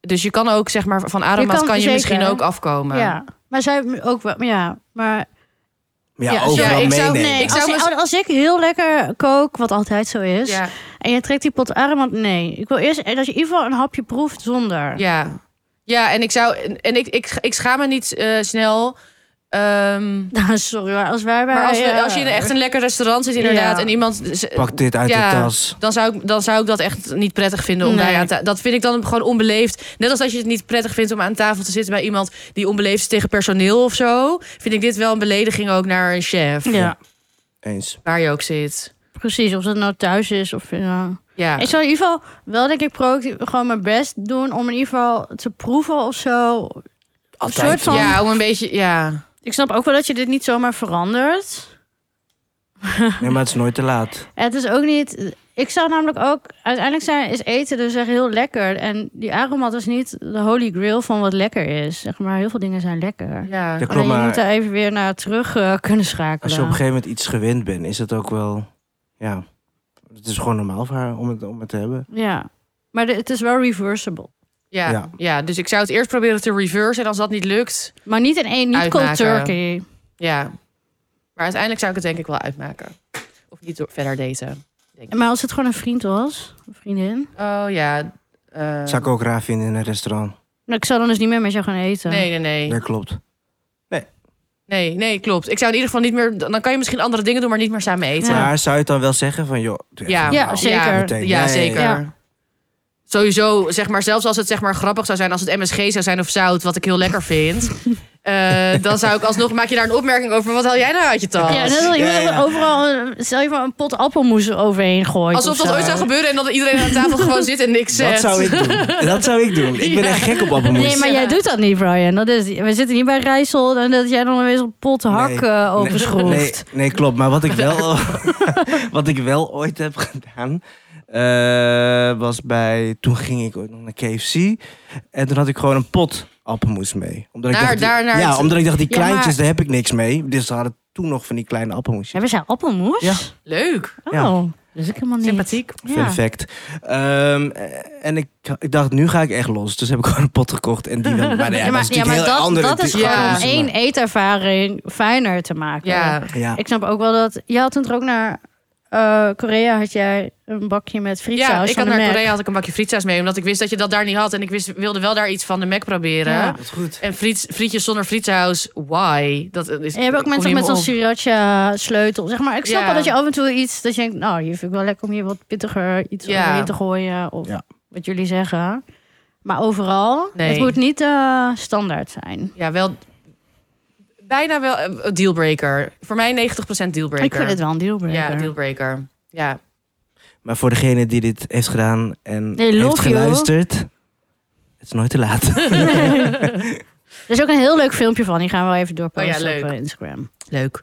Speaker 1: Dus je kan ook, zeg maar, van aromaat
Speaker 2: Je
Speaker 1: kan,
Speaker 2: kan
Speaker 1: je
Speaker 2: zeker.
Speaker 1: misschien ook afkomen.
Speaker 2: Ja, maar zij hebben ook wel, ja, maar
Speaker 3: Ja,
Speaker 2: Ja,
Speaker 3: overal
Speaker 1: ja, ik zou-
Speaker 3: meenemen.
Speaker 1: nee, ik
Speaker 2: als,
Speaker 1: zou
Speaker 2: ik, als ik heel lekker kook, wat altijd zo is,
Speaker 1: Ja,
Speaker 2: en je trekt die pot aromat, nee. Ik wil eerst dat je in ieder geval een hapje proeft zonder.
Speaker 1: ja. Ja, en ik zou, en ik, ik, ik schaam me niet eh, snel. Ehm,
Speaker 2: Nou, sorry, maar als wij bij...
Speaker 1: maar als, we-
Speaker 2: ja.
Speaker 1: als je in echt een lekker restaurant zit, inderdaad,
Speaker 2: Ja.
Speaker 1: en iemand z-
Speaker 3: Pak dit uit
Speaker 1: Ja.
Speaker 3: de tas.
Speaker 1: dan zou, ik, dan zou ik dat echt niet prettig vinden om
Speaker 2: Nee.
Speaker 1: daar aan tafel... Dat vind ik dan gewoon onbeleefd. Net als dat je het niet prettig vindt om aan tafel te zitten... bij iemand die onbeleefd is tegen personeel of zo... vind ik dit wel een belediging ook naar een chef.
Speaker 2: Ja,
Speaker 3: Eens.
Speaker 1: Waar je ook zit.
Speaker 2: precies. Of dat nou thuis is of... Ja.
Speaker 1: Ja,
Speaker 2: Ik zou in ieder geval wel, denk ik, proactief gewoon mijn best doen om in ieder geval te proeven of zo. Een
Speaker 3: Altijd.
Speaker 2: soort van...
Speaker 1: ja om een beetje... Ja.
Speaker 2: Ik snap ook wel dat je dit niet zomaar verandert.
Speaker 3: Nee, maar het is nooit te laat.
Speaker 2: En Het is ook niet. Ik zou namelijk ook. Uiteindelijk zijn, is eten dus echt heel lekker. En die aromat is niet de holy grail van wat lekker is. Zeg maar, heel veel dingen zijn lekker.
Speaker 1: ja.
Speaker 3: Ja,
Speaker 2: Alleen
Speaker 3: klopt,
Speaker 2: je moet
Speaker 3: maar
Speaker 2: daar even weer naar terug eh, kunnen schakelen.
Speaker 3: als je op een gegeven moment iets gewend bent, is het ook wel... Ja, het is gewoon normaal voor haar om het, om het te hebben.
Speaker 2: Ja. Maar de- het is wel reversible.
Speaker 1: Ja, ja.
Speaker 3: Ja.
Speaker 1: dus ik zou het eerst proberen te reverse. En als dat niet lukt...
Speaker 2: Maar niet in één, niet cold
Speaker 1: Uitmaken.
Speaker 2: turkey.
Speaker 1: Ja. Maar uiteindelijk zou ik het denk ik wel uitmaken. Of niet door- verder daten.
Speaker 2: Maar als het gewoon een vriend was, een vriendin.
Speaker 1: Oh ja. eh,
Speaker 3: Zou ik ook raar vinden in een restaurant.
Speaker 2: Nou, Ik zou dan dus niet meer met jou gaan eten.
Speaker 1: Nee, nee, nee.
Speaker 3: Dat klopt.
Speaker 1: Nee, nee, klopt. Ik zou in ieder geval niet meer... Dan kan je misschien andere dingen doen, maar niet meer samen eten.
Speaker 3: Maar zou je het dan wel zeggen van, joh... doe even
Speaker 1: Ja,
Speaker 3: normaal.
Speaker 2: Ja, zeker.
Speaker 1: Ja,
Speaker 3: Meteen. Ja, ja, ja.
Speaker 1: zeker.
Speaker 2: Ja.
Speaker 1: Sowieso, zeg maar, zelfs als het zeg maar grappig zou zijn, als het MSG zou zijn of zout, wat ik heel lekker vind, eh, dan zou ik alsnog, maak je daar een opmerking over, wat haal jij nou uit je tas?
Speaker 2: Ja, net als iemand
Speaker 3: Ja, ja.
Speaker 2: overal, eh, stel je maar een pot appelmoes eroverheen gooit.
Speaker 1: Alsof
Speaker 2: of
Speaker 1: dat
Speaker 2: zo.
Speaker 1: ooit zou gebeuren en dat iedereen aan tafel gewoon zit en niks zegt.
Speaker 3: Dat zou ik doen. Dat zou ik doen. Ik ben echt gek op appelmoes.
Speaker 2: Nee, maar
Speaker 1: Ja.
Speaker 2: jij doet dat niet, Brian. Dat is, we zitten niet bij Rijssel en dat jij dan een een pot hak
Speaker 3: Nee.
Speaker 2: eh,
Speaker 3: Nee,
Speaker 2: openschroeft.
Speaker 3: Nee, nee, klopt. Maar wat ik wel, wat ik wel ooit heb gedaan, eh, was bij... Toen ging ik ooit nog naar KFC. En toen had ik gewoon een pot appelmoes mee. Omdat
Speaker 1: Naar-
Speaker 3: ik dacht, die-
Speaker 1: daar naar
Speaker 3: ja,
Speaker 1: het-
Speaker 3: omdat ik dacht, die
Speaker 2: Ja,
Speaker 3: kleintjes,
Speaker 2: maar-
Speaker 3: daar heb ik niks mee. Dus ze hadden toen nog van die kleine appelmoesjes.
Speaker 2: Hebben zij appelmoes?
Speaker 3: Ja.
Speaker 1: Leuk,
Speaker 2: Oh,
Speaker 3: Ja.
Speaker 2: dat is ik helemaal niet.
Speaker 1: sympathiek.
Speaker 2: Ja.
Speaker 3: Perfect. Ehm, en ik, ik dacht, nu ga ik echt los. Dus heb ik gewoon een pot gekocht. En die wel, maar ja, dat is
Speaker 2: Ja, maar, ja,
Speaker 3: natuurlijk
Speaker 2: maar
Speaker 3: heel
Speaker 2: dat,
Speaker 3: andere
Speaker 2: dat is
Speaker 1: Ja.
Speaker 2: gewoon
Speaker 3: appelmoes,
Speaker 2: om één
Speaker 3: maar-
Speaker 2: eetervaring fijner te maken.
Speaker 1: Ja,
Speaker 3: Ja.
Speaker 2: Ik snap ook wel dat... Je had toen toch ook naar eh, Korea had jij een bakje met frietsaus
Speaker 1: ja ik
Speaker 2: van
Speaker 1: had
Speaker 2: de
Speaker 1: naar
Speaker 2: Mac.
Speaker 1: Korea had ik een bakje frietsaus mee, omdat ik wist dat je dat daar niet had en ik wist, wilde wel daar iets van de Mac proberen.
Speaker 2: Ja.
Speaker 3: Dat is goed.
Speaker 1: En friet, frietjes zonder frietsaus, why? Dat is,
Speaker 2: En je hebt ook
Speaker 1: komt
Speaker 2: mensen
Speaker 1: niet
Speaker 2: met
Speaker 1: meer
Speaker 2: zo'n
Speaker 1: op.
Speaker 2: sriracha sleutel. Zeg maar, ik snap
Speaker 1: Ja.
Speaker 2: wel dat je af en toe iets... Dat je denkt, nou, hier vind ik wel lekker om hier wat pittiger iets
Speaker 1: Ja.
Speaker 2: overheen te gooien. Of
Speaker 3: Ja.
Speaker 2: wat jullie zeggen. Maar overal,
Speaker 1: Nee.
Speaker 2: het moet niet eh, standaard zijn.
Speaker 1: Ja, wel. Bijna wel eh, een dealbreaker. Voor mij 90% dealbreaker.
Speaker 2: Ik vind het wel een dealbreaker.
Speaker 1: Ja, dealbreaker. Ja.
Speaker 3: Maar voor degene die dit heeft gedaan en
Speaker 2: Nee, love you.
Speaker 3: heeft geluisterd... Het is nooit te laat.
Speaker 2: Er is ook een heel leuk filmpje van. Die gaan we wel even doorposten
Speaker 1: Oh ja, leuk.
Speaker 2: op eh, Instagram.
Speaker 1: Leuk.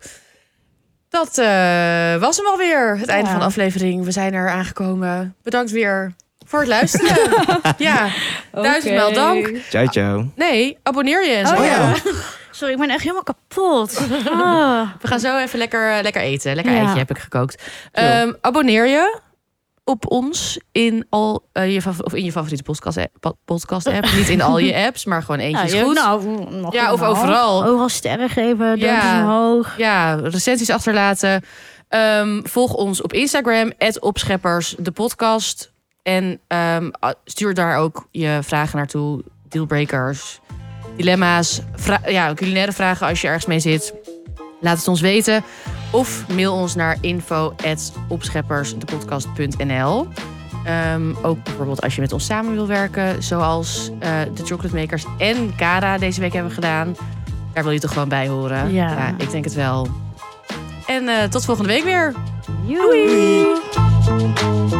Speaker 1: Dat eh, was hem alweer, het einde
Speaker 2: Ja.
Speaker 1: van de aflevering. We zijn er aangekomen. Bedankt weer voor het luisteren. ja, duizendmaal dank.
Speaker 3: ciao, ciao.
Speaker 1: Nee, abonneer je en zo.
Speaker 2: Oh ja.
Speaker 3: ja.
Speaker 2: Sorry, ik ben echt helemaal kapot. Ah.
Speaker 1: We gaan zo even lekker, eh, lekker eten. Lekker
Speaker 2: Ja.
Speaker 1: eitje heb ik gekookt.
Speaker 3: Chill.
Speaker 1: Ehm, abonneer je op ons in al eh, je, fav- of in je favoriete podcast app, podcast app. Niet in al je apps, maar gewoon eentje
Speaker 2: Nou,
Speaker 1: is
Speaker 2: je-
Speaker 1: goed.
Speaker 2: nou, nog
Speaker 1: Ja, of
Speaker 2: een half.
Speaker 1: overal.
Speaker 2: Overal sterren geven, duimpjes
Speaker 1: Ja.
Speaker 2: omhoog.
Speaker 1: Ja, recensies achterlaten. Ehm, volg ons op Instagram, opscheppers, de podcast. En ehm, a- stuur daar ook je vragen naartoe. Dealbreakers, dilemma's, vra- ja, culinaire vragen als je ergens mee zit. Laat het ons weten. Of mail ons naar info.opscheppersdepodcast.nl. Ehm, ook bijvoorbeeld als je met ons samen wil werken. Zoals eh, de Chocolate Makers en Cara deze week hebben gedaan. Daar wil je toch gewoon bij horen?
Speaker 2: Ja.
Speaker 1: ik denk het wel. En eh, tot volgende week weer.
Speaker 2: Doei.
Speaker 3: Doei.